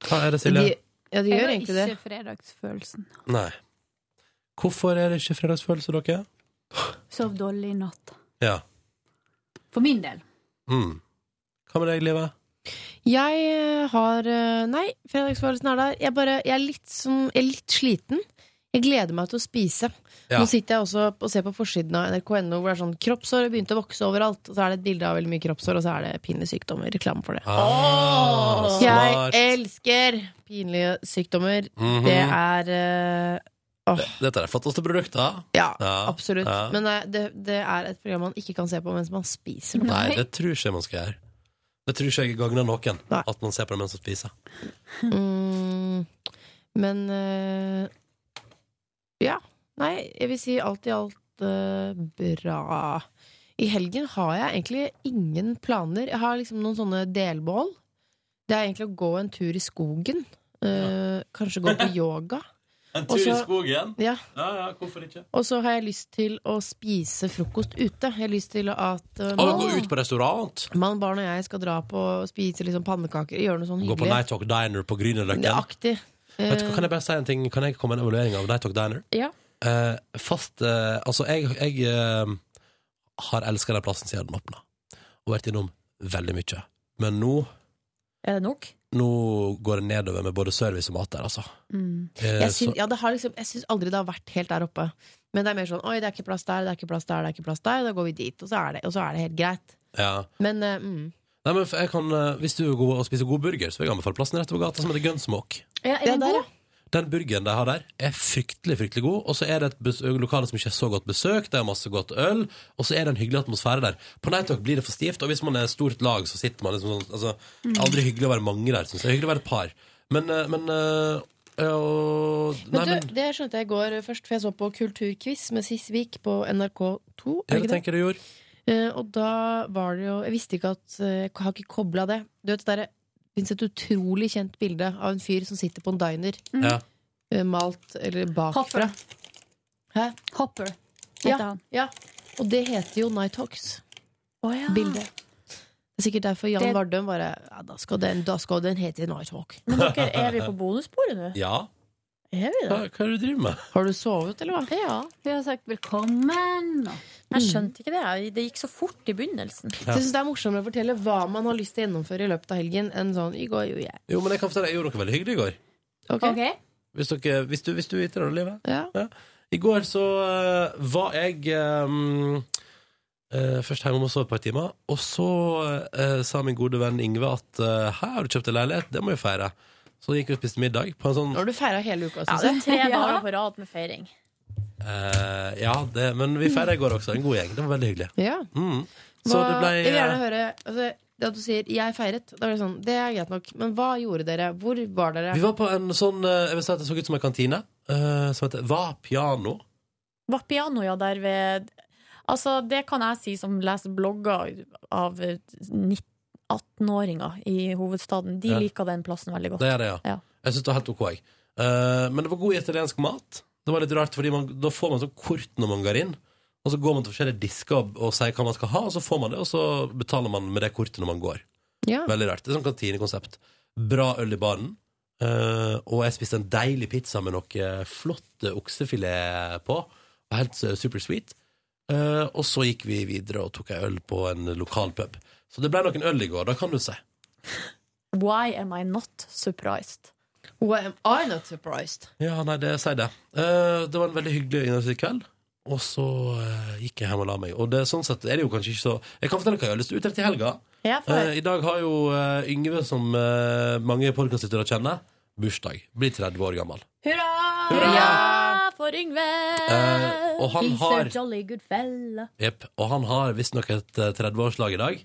B: Hva er det, Silje?
C: Ja, de
O: Jeg
C: gjør
O: har
C: egentlig det.
O: Ikke fredagsfølelsen.
B: Nei. Hvorfor er det ikke fredagsfølelse, dere?
O: Sov dårlig i natt.
B: Ja.
O: For min del.
B: Mm. Hva med deg, Live?
C: Jeg eh, har eh, Nei, fredagsfølelsen er der. Jeg, bare, jeg, er litt som, jeg er litt sliten. Jeg gleder meg til å spise.
B: Ja.
C: Nå sitter jeg også og ser på forsiden av nrk.no hvor det er sånn kroppshår begynte å vokse overalt. Og så er det et bilde av veldig mye kroppshår, og så er det pinlige sykdommer. Reklame for det.
B: Ah,
C: jeg
B: smart.
C: elsker pinlige sykdommer.
B: Mhm.
C: Det er eh,
B: Dette er de flotteste produktene.
C: Ja,
B: absolutt.
C: Men eh, det, det er et program man ikke kan se på mens man spiser noe.
B: Nei, det tror ikke jeg man skal gjøre. Det tror ikke jeg gagner noen. At man ser på det mens man spiser.
C: Mm, men eh, Ja. Nei, jeg vil si alt i alt eh, bra. I helgen har jeg egentlig ingen planer. Jeg har liksom noen sånne delmål. Det er egentlig å gå en tur i skogen. Eh, Kanskje gå
B: [laughs]
C: på yoga.
B: En
C: tur i Også-
B: skogen?
C: Ja.
B: hvorfor ikke?
C: Og så har jeg lyst til å spise frokost ute. Jeg har lyst til at eh,
B: Og gå ut på restaurant.
C: man, barn og jeg skal dra på og spise liksom pannekaker. Gjøre noe sånn
B: Gå på
C: hyggelig.
B: Night Talk Diner på Grünerløkken.
C: Aktig.
B: Vet du hva,
C: Eh,
B: Kan jeg bare si en ting? Kan jeg komme med en evaluering av Night Talk Diner?
E: Ja.
B: Eh, fast eh, Altså, jeg, jeg eh, har elska den plassen siden den åpna. Og vært innom veldig mye. Men nå,
E: Er det nok?
B: nå går det nedover med både service og mat der, altså.
E: Mm.
B: Eh,
C: Jeg
B: så-
C: syns, ja, det har liksom, jeg syns aldri det har vært helt der oppe. Men det er mer sånn Oi, det er ikke plass der, det er ikke plass der, det er ikke plass der. Da går vi dit, og så er det, og så er det helt greit.
B: Ja.
C: Men eh, mm.
B: Nei, men jeg kan, eh, Hvis du er god og spiser god burger, så vil jeg anbefale plassen rett over gata som heter Gunsmoke.
E: Ja, er det god?
B: Den burgeren de har der, er fryktelig fryktelig god. Og så er det et bes- lokale som ikke er så godt besøkt, de har masse godt øl, og så er det en hyggelig atmosfære der. På Night Talk blir det for stivt, og hvis man er et stort lag, så sitter man liksom sånn altså, det
E: Mm.
B: er Aldri hyggelig å være mange der, syns jeg. Det er Hyggelig å være et par. Men, eh, men eh, øh, Nei,
C: Men
B: men
C: du, det skjønte jeg i går først, for jeg så på Kulturquiz med Sissvik på NRK2.
B: Ja, det tenker jeg du gjorde.
C: Eh, og da var det jo Jeg visste ikke at eh, Jeg har ikke kobla det. Du vet, det fins et utrolig kjent bilde av en fyr som sitter på en diner.
B: Ja.
C: Eh, Malt eller bakfra. Hæ?
O: Hopper.
C: Ja,
O: heter han.
C: ja. Og det heter jo Night Hawks.
E: ja.
C: Bildet. Det er sikkert derfor Jan
E: Det-
C: Vardøen bare ja, da, skal den, da skal den hete Night Hawk.
E: Men dere, er vi på bonussporet nå?
B: Ja.
E: Er vi
B: Hva, hva er det du driver med?
C: Har du sovet, eller hva?
E: Ja. Vi har sagt velkommen. Jeg skjønte ikke det. jeg. Det gikk så fort i begynnelsen.
C: Så Jeg synes det er morsommere å fortelle hva man har lyst til å gjennomføre i løpet av helgen, enn sånn i går gjorde jeg.
B: Jo, men jeg kan fortelle, jeg gjorde noe veldig hyggelig i går. Hvis, dere, hvis, du, hvis du yter deg, Livet. Ja. I går så eh, var jeg ehm, eh, først hjemme og sov et par timer. Og så eh, sa min gode venn Ingve at uh, her har du kjøpt en leilighet, det må vi feire. Så gikk vi og spiste middag på en sånn
C: Nå har du feira hele uka,
E: [laughs] Ja,
C: syns
E: det er tre
C: jeg.
E: dager på rad med feiring.
B: eh, Ja, det, men vi feira i går også. En god gjeng. Det var veldig hyggelig.
C: Ja.
B: Mm. Så
C: Hva,
B: det ble
C: jeg vil gjerne
B: eh,
C: høre altså, det at du sier 'jeg feiret'. Da er det sånn, det er greit nok. Men hva gjorde dere? Hvor var dere?
B: Vi var på en sånn eh, Jeg vil si at det så ut som en kantine, eh, som heter Va Piano.
E: Vapiano, ja, der ved Altså, det kan jeg si som leser blogger av 19 18-åringer i hovedstaden. De
B: Ja.
E: liker den plassen veldig godt.
B: Det er det, ja. Jeg syns det var helt OK. jeg. Eh, men det var god italiensk mat. Det var litt rart, fordi man, Da får man sånn kort når man går inn. Og så går man til forskjellige disker og, og sier hva man skal ha, og så får man det, og så betaler man med det kortet når man går.
C: Ja.
B: Veldig rart. Det er sånn kantinekonsept. Bra øl i baren. eh, og jeg spiste en deilig pizza med noe flott oksefilet på. Og Helt eh, super sweet. Eh, og så gikk vi videre og tok ei øl på en lokal pub. Så det ble noen øl i går, da kan du si.
E: Why am I not surprised?
C: Why am I not surprised?
B: Ja, nei, det sier det. Eh, det var en veldig hyggelig innholdsrik kveld. Og så eh, gikk jeg hjem og la meg. Og det, sånn sett er det jo kanskje ikke så Jeg kan fortelle hva jeg har lyst til å utrette i helga.
E: Ja, for-
B: Eh, I dag har jo eh, Yngve, som eh, mange podkastlyttere kjenner, bursdag. Blir 30 år gammel.
E: Hurra! for Yngve!
B: Eh, og han
E: He's
B: har-
E: a jolly good fella.
B: Jep. Og han har visstnok et eh, 30-årslag i dag,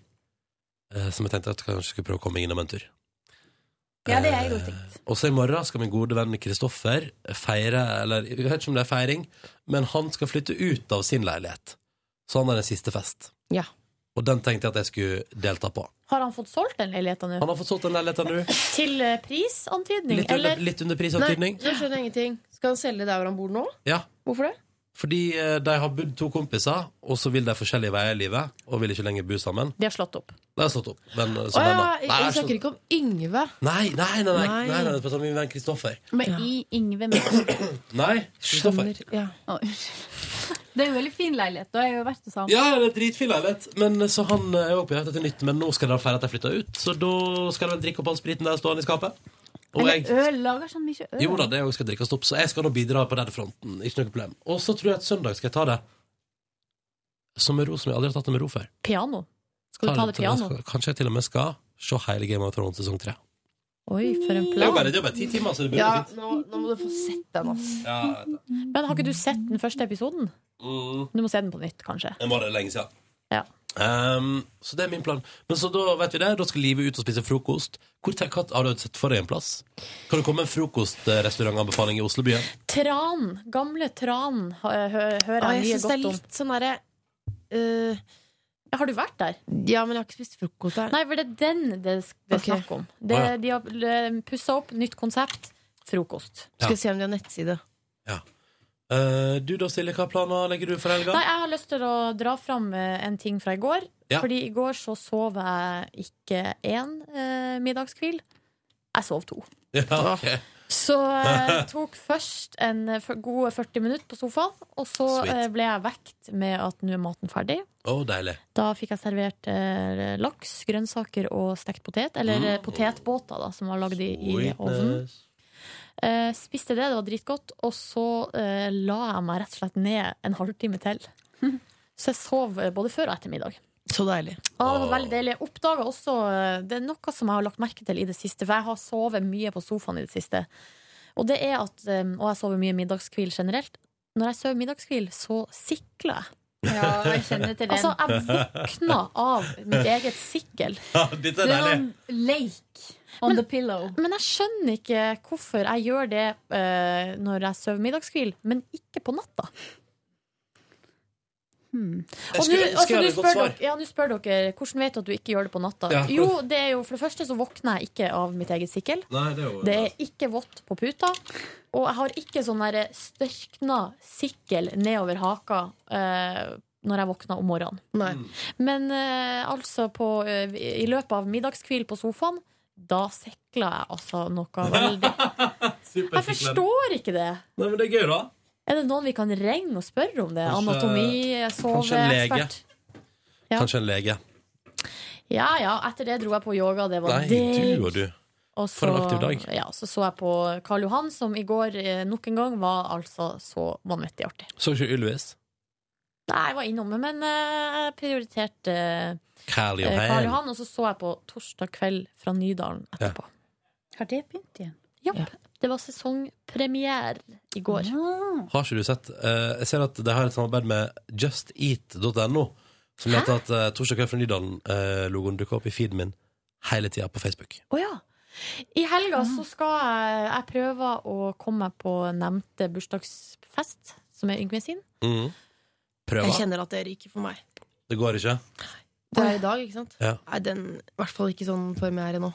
B: eh, som jeg tenkte at jeg kanskje skulle prøve å komme innom en tur. Eh,
E: Ja, det er jo ting.
B: Og så i morgen skal min gode venn Kristoffer feire, eller jeg vet ikke om det er feiring, men han skal flytte ut av sin leilighet. Så han har en siste fest.
C: Ja.
B: Og den tenkte jeg at jeg skulle delta på.
E: Har han fått solgt den leiligheten nå?
B: Han har fått solgt den leiligheten nå.
E: Til eh, prisantydning,
B: Litt under,
E: eller?
B: litt under
C: Nei,
B: prisantydning.
C: nå skjønner jeg ingenting. Skal han selge der hvor han bor nå?
B: Ja.
C: Hvorfor det?
B: Fordi eh, de har bodd to kompiser, og så vil de forskjellige veier i livet, og vil ikke lenger bo sammen.
E: De har slått opp.
B: De har slått opp. Men, eh,
C: Å
B: som
C: ja,
B: venner.
C: jeg,
B: Nei,
C: jeg
B: de har
C: snakker
B: slått-
C: ikke om Yngve.
B: Nei, nei, nei. nei, nei,
C: Nei.
B: nei, det er sånn min venn Kristoffer.
O: Men i Yngve med
B: Nei, Kristoffer.
O: Å, unnskyld.
A: [laughs]
O: Det er jo veldig fin leilighet. Da har jeg jo vært hos ham.
B: Ja, det er dritfin leilighet. Men eh, så han er jo på jakt etter nytt, men nå skal de feire at de flytta ut. Så da skal de drikke opp all spriten der stående i skapet. Og
O: Eller
B: jeg,
O: øl. Lager sånn mye øl.
B: jo da, det òg skal drikkes opp, så jeg skal nå bidra på den fronten. Ikke noe problem. Og så tror jeg at søndag skal jeg ta det som med ro, som jeg aldri har tatt det med ro før.
E: Piano. Skal du
B: Ta
E: ta det
B: til-
E: piano?
B: Kanskje jeg til og med skal se hele Game of Thrones sesong tre.
E: Oi, for
C: Mm.
E: en
B: Det er jo
E: plan.
B: bare, det er jo bare ti timer, så det burde
C: Ja,
B: gå fint.
C: nå, nå må du få sett den, ass.
B: Ja, jeg vet det.
E: Men har ikke du sett den første episoden?
B: Mm.
E: Du må se den på nytt, kanskje.
B: Det var det lenge siden.
E: Ja.
B: Ehm, så det er min plan. Men så da vet vi det, da skal livet ut og spise frokost. Hvor tenk, hva- Har du sett for deg en plass? Kan du komme med en frokostrestaurantanbefaling i Oslobyen?
E: Tran. Gamle Tran hø hø hører
C: Å, jeg
E: jeg mye
C: synes det er
E: godt om.
C: litt sånn derre eh,
E: Har du vært der?
C: Ja, men jeg har ikke spist frokost der.
E: Nei, for det er den det, det er snakk om. Det,
C: Å, ja.
E: De har pussa opp, nytt konsept, frokost.
C: Skal vi se om de har nettside.
B: Eh, du da, Silje, hva planer legger du for helga?
E: Nei, jeg har lyst til å dra fram eh, en ting fra i går.
B: Ja.
E: Fordi i går så sov jeg ikke én eh, middagskvil. Jeg sov to.
B: [laughs] Ja, ok.
E: Så jeg tok først en eh, f- gode 40 minutter på sofaen, og så
B: Sweet.
E: eh, ble jeg vekt med at nå er maten ferdig.
B: Å, deilig.
E: Da fikk jeg servert eh, laks, grønnsaker og stekt potet. Eller
B: Mm.
E: eh, potetbåter, da, som var lagd i, i ovnen.
B: Sweetness.
E: Eh, spiste det, det var dritgodt. Og så eh, la jeg meg rett og slett ned en halvtime til. Så jeg sov eh, både før og etter middag.
C: Så deilig.
E: Ja, det var veldig deilig. Jeg oppdaga også eh, Det er noe som jeg har lagt merke til i det siste, for jeg har sovet mye på sofaen i det siste. Og det er at eh, Og jeg sover mye middagskvil generelt. Når jeg sover middagskvil, så sikler jeg.
O: Ja, jeg kjenner
A: [laughs]
O: til den.
E: Altså, jeg våkna av mitt eget sikkel.
B: Ja, dette er
A: sånn
B: deilig.
E: Lake on the pillow. Men jeg skjønner ikke hvorfor jeg gjør det eh, når jeg sover middagskvil, men ikke på natta.
B: Jeg
E: Og
B: skulle
E: nå
B: ønske jeg hadde
E: altså, nå
B: et godt
E: spør,
B: svar.
E: dere- ja, nå spør dere hvordan vet du at du ikke gjør det på natta.
B: Ja.
E: Jo, det er jo For det første så våkner jeg ikke av mitt eget sikkel.
B: Nei, det er jo-
E: Det er ikke vått på puta. Og jeg har ikke sånn der størkna sikkel nedover haka eh, når jeg våkner om morgenen.
C: Nei.
E: Men eh, altså på, eh, i løpet av middagskvil på sofaen da sikla jeg
B: [laughs]
E: altså noe veldig. Jeg forstår ikke det.
B: Nei, men det er gøy, da.
E: Er det noen vi kan ringe og spørre om det?
B: Kanskje-
E: Anatomi,
B: Kanskje en lege.
E: soveekspert? Ja.
B: Kanskje en lege.
E: Ja ja, etter det dro jeg på yoga. Det var
B: Nei,
E: digg.
B: du og du.
E: Og
B: For en aktiv dag.
E: Ja, så så jeg på Karl Johan, som i går eh, nok en gang var altså så vanvittig artig.
B: Så ikke Ylvis?
E: Nei, jeg var innom, men eh, jeg prioriterte eh,
B: Karl
E: eh,
B: Johan.
E: Karl Johan. Og så så jeg på Torsdag kveld fra Nydalen etterpå.
O: Har det begynt igjen?
E: Ja. Det var sesongpremiere i går.
B: Har ikke du sett eh, Jeg ser at de har et samarbeid med justeat.no, som gjør at eh, Torsdag kveld fra Nydalen-logoen eh, dukker opp i feeden min hele tida på Facebook.
E: Å ja. I helga så skal jeg, jeg prøve å komme meg på nevnte bursdagsfest, som er Yngve sin.
B: Mhm.
C: Jeg
B: Prøver.
C: kjenner at det ryker for meg.
B: Det går ikke?
C: Det er i dag, ikke sant?
B: Ja.
C: Nei, den i hvert fall ikke sånn form jeg er i nå.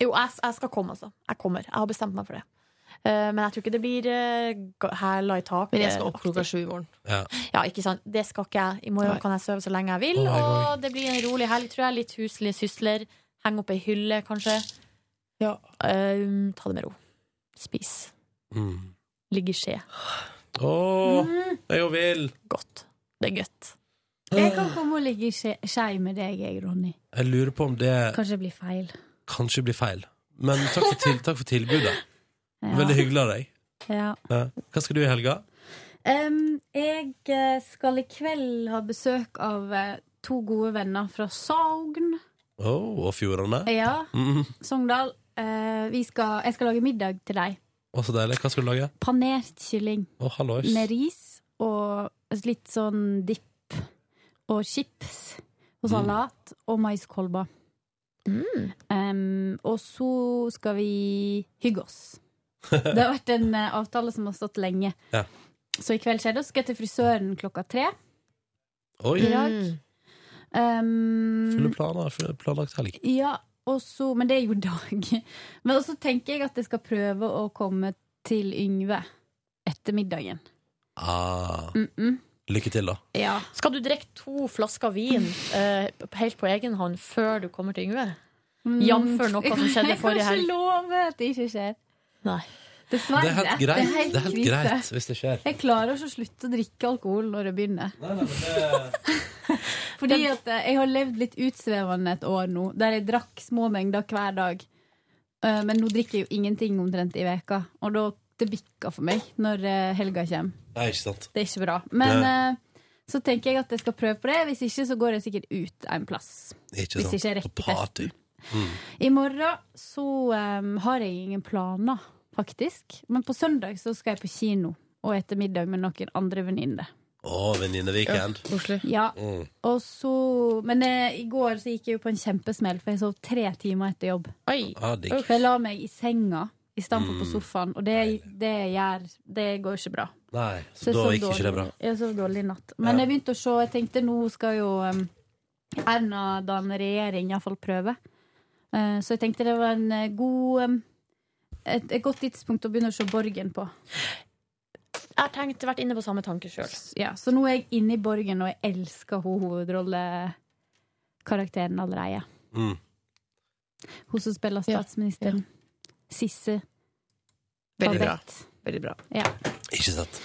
E: Jo, jeg, jeg skal komme, altså. Jeg kommer. Jeg har bestemt meg for det. Eh, men jeg tror ikke det blir uh, hæla i taket.
C: Men jeg skal opp
E: aktig.
C: klokka sju i morgen.
B: Ja.
E: Ja, ikke sant. Det skal ikke jeg. I morgen kan jeg sove så lenge jeg vil.
C: Oi, oi.
E: Og det blir en rolig helg, tror jeg. Litt huslige sysler. Henge opp ei hylle, kanskje. Eh, ta det med ro. Spis.
B: Mm.
E: Ligg i skje.
B: Å, jeg jo vil!
E: Godt. Det er godt.
O: Jeg
B: Mm.
O: kan komme og ligge i skje skje med deg, jeg, Ronny.
B: Jeg lurer på om det
O: Kanskje det blir feil.
B: kanskje blir feil. Men takk for, til, takk for tilbudet.
O: Ja.
B: Veldig hyggelig av deg.
O: Ja.
B: Ja. Hva skal du i helga?
O: Em, jeg eh, skal i kveld ha besøk av eh, to gode venner fra Sogn.
B: Å, og Fjordane?
O: Ja.
B: Mm.
O: Sogndal. Eh, vi skal, jeg skal lage middag til deg.
B: Å, så deilig. Hva skal du lage?
O: Panert kylling
B: Å, hallois.
O: med ris og litt sånn dipp og chips og salat og maiskolber. Em, og så skal vi hygge oss. Det har vært en eh, avtale som har stått lenge.
B: Ja.
O: Så i kveld skjer det, og så skal jeg til frisøren klokka tre.
B: Oi!
O: i
C: Mm.
O: dag. Em,
E: Mm.
B: Fulle planer. Fulle planlagt helg.
O: Ehm, ja, og så, men det er jo dag. Men også tenker jeg at jeg skal prøve å komme til Yngve etter middagen.
B: Ah. Lykke til, da.
E: Skal du drikke to flasker vin eh, helt på egen hånd før du kommer til Yngve? Jamfør noe som skjedde forrige
O: Mm. Jeg kan
E: helg.
O: ikke love at det ikke skjer.
E: Nei.
O: Dessverre.
B: Det er helt greit, det er helt
O: krise.
B: greit hvis det skjer.
O: Jeg klarer ikke å slutte å drikke alkohol når det begynner. Fordi at eh, jeg har levd litt utsvevende et år nå, der jeg drakk små mengder hver dag. Eh, Men nå drikker jeg jo ingenting omtrent i veka og da det bikker for meg når eh, helga kommer.
B: Nei, ikke sant.
O: Det er ikke bra. Men
B: Nei.
O: eh, så tenker jeg at jeg skal prøve på det. Hvis ikke så går jeg sikkert ut en plass.
B: Ikke
O: Hvis
B: sant.
O: ikke jeg rekker
B: På party.
O: testen. I morgen så eh, har jeg ingen planer, faktisk. Men på søndag så skal jeg på kino og ete middag med noen andre venninner.
B: Å, venninneweekend.
O: Ja.
B: Mm.
O: Og så, men eh, i går så gikk jeg jo på en kjempesmell, for jeg sov tre timer etter jobb.
B: Ah, digg.
O: For jeg la meg i senga i stedet for på
B: Mm.
O: sofaen, og det, det, gjør, det går ikke bra.
B: Nei, så
O: Så jeg
B: da
O: sov
B: gikk ikke det bra.
O: dårlig. Jeg sov dårlig i natt. Men jeg begynte å se, jeg tenkte nå skal jo um, Erna danne regjering, iallfall prøve. Eh, så jeg tenkte det var en eh, god um, et, et godt tidspunkt å begynne å se Borgen på.
E: Jeg har tenkt, vært inne på samme tanke sjøl.
O: Ja, så nå er jeg inne i Borgen, og jeg elsker ho hovedrollekarakteren allerede.
B: Mm.
O: Hun som spiller statsministeren. Sisse.
B: Veldig bra.
O: Babette. Ja.
B: Ikke sant.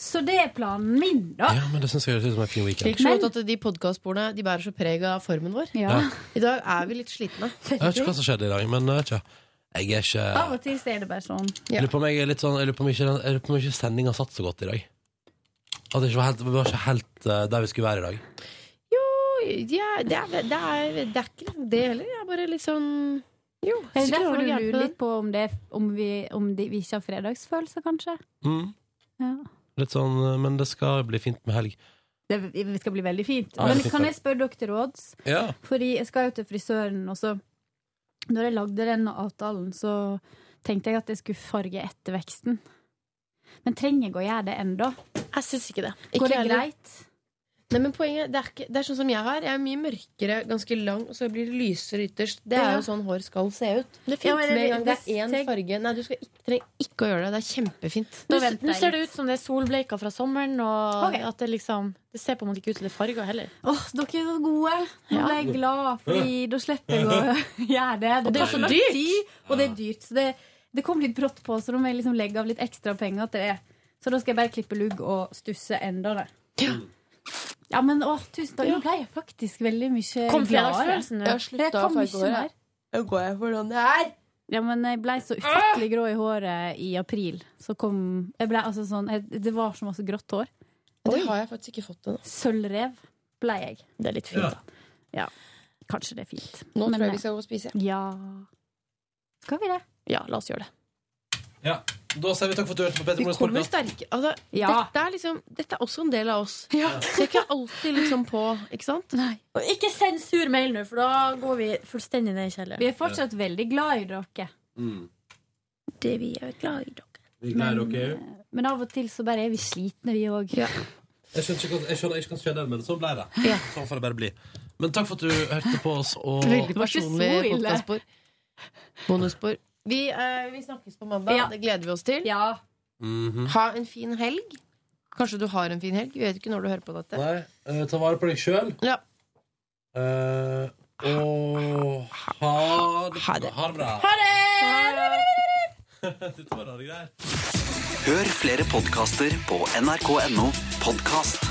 O: Så det er planen min, da.
B: Ja, men det syns jeg høres ut som en fin
C: Slik
B: weekend.
C: så godt at De podkastbordene de bærer så preg av formen vår.
B: Ja.
O: [laughs]
C: I dag er vi litt slitne.
B: Jeg vet ikke hva som skjedde i dag, men jeg vet ikke. Jeg er ikke
O: Av og til så er det bare sånn.
B: Jeg lurer på om jeg er litt sånn Jeg lurer på om ikke, den- jeg lurer på om ikke sendinga satt så godt i dag. At det ikke var helt, vi var ikke helt eh, der vi skulle være i dag.
C: Oi, ja, det, er, det, er, det er ikke liksom det heller. Jeg er bare litt sånn Jo.
O: Er det
C: sikkert
O: derfor
C: var
O: du
C: det noe gærent
O: lurer
C: med
O: litt på om, det, om, vi, om de, vi ikke har fredagsfølelse, kanskje?
B: Mm.
O: Ja.
B: Litt sånn, eh, men det skal bli fint med helg.
O: Det, det skal bli veldig fint.
B: Ja,
O: Men
B: veldig fint,
O: kan
B: ja.
O: jeg spørre dere til råds?
B: Ja.
O: Fordi jeg skal jo til frisøren også. Når jeg lagde den avtalen, så tenkte jeg at jeg skulle farge etter veksten. Men trenger jeg å gjøre det ennå?
E: Jeg syns ikke det.
O: Går det greit?
C: Nei, men poenget, det er, ikke, det er sånn som jeg har. Jeg er mye mørkere, ganske lang, og så blir det lysere ytterst. Det er
P: Ja.
C: jo sånn hår skal se ut.
P: Det er fint.
C: Ja, men
P: Med en
C: det-
P: gang det er
C: hvis
P: én
C: jeg-
P: farge Nei, du skal ikke, trenger ikke å gjøre det. Det er kjempefint.
E: Nå, nå ser det ut som det er solbleika fra sommeren, og
O: Ok.
E: at det liksom Det ser på en måte ikke ut som det er farger heller.
O: Åh, dere er så gode! Nå ble jeg glad, Fordi da slipper jeg å [laughs] gjøre det.
E: Og det er
O: tar
E: så
O: lang
E: dyrt.
O: Tid, og det er dyrt. Så det, det kom litt brått på, så da må jeg liksom legge av litt ekstra penger til det. Så da skal jeg bare klippe lugg og stusse enda det. Ja, men åh, tusen takk. Nå ble jeg faktisk veldig mye
E: Kom
O: gladere.
E: fredagsfølelsen, du.
O: Jeg
E: Slutt å
O: kom
E: farge
O: mye
E: håret.
O: mer.
C: Nå går jeg for sånn det er.
O: Ja, men jeg ble så ufattelig grå i håret i april. Så kom jeg ble, altså, sånn, jeg, Det var så masse grått hår.
C: Det har jeg faktisk ikke fått ennå.
O: Sølvrev ble jeg.
E: Det er litt fint,
O: da. Ja. Kanskje det er fint.
C: Nå
O: Men,
C: tror jeg
O: eh,
C: vi skal gå og spise.
O: Ja. Skal vi det?
E: Ja, la oss gjøre det.
B: Ja. Da sier vi takk for at du hørte på Petter
C: Vi
B: Morgens
C: kommer
B: podcast.
C: sterke altså, dette, er liksom, dette er også en del av oss. Det er ikke alltid liksom på, ikke sant?
E: Og ikke send sur mail nå, for da går vi fullstendig ned i kjelleren.
O: Vi er fortsatt veldig glad i dere.
B: Mm.
E: Det vi er glad i.
B: Vi gleder dere.
O: Men av og til så bare er vi slitne, vi òg.
B: Jeg skjønner ikke, hva- jeg skjønner ikke hva som skjedde, men sånn ble det. Sånn får det bare bli. Men takk for at du hørte på oss. Og
C: Veldig personlig
O: så ille.
C: podkastspor. Bonusspor. Vi, eh, vi snakkes på mandag.
O: Ja.
C: Det gleder vi oss til.
B: Mhm.
C: Ha en fin helg. Kanskje du har en fin helg. Vi vet ikke når du hører på dette.
B: Nei, eh, ta vare på deg sjøl.
C: Ja.
B: og ha det, ha det bra. [laughs] Dette var rare greier.
Q: Hør flere podkaster på nrk.no podkast.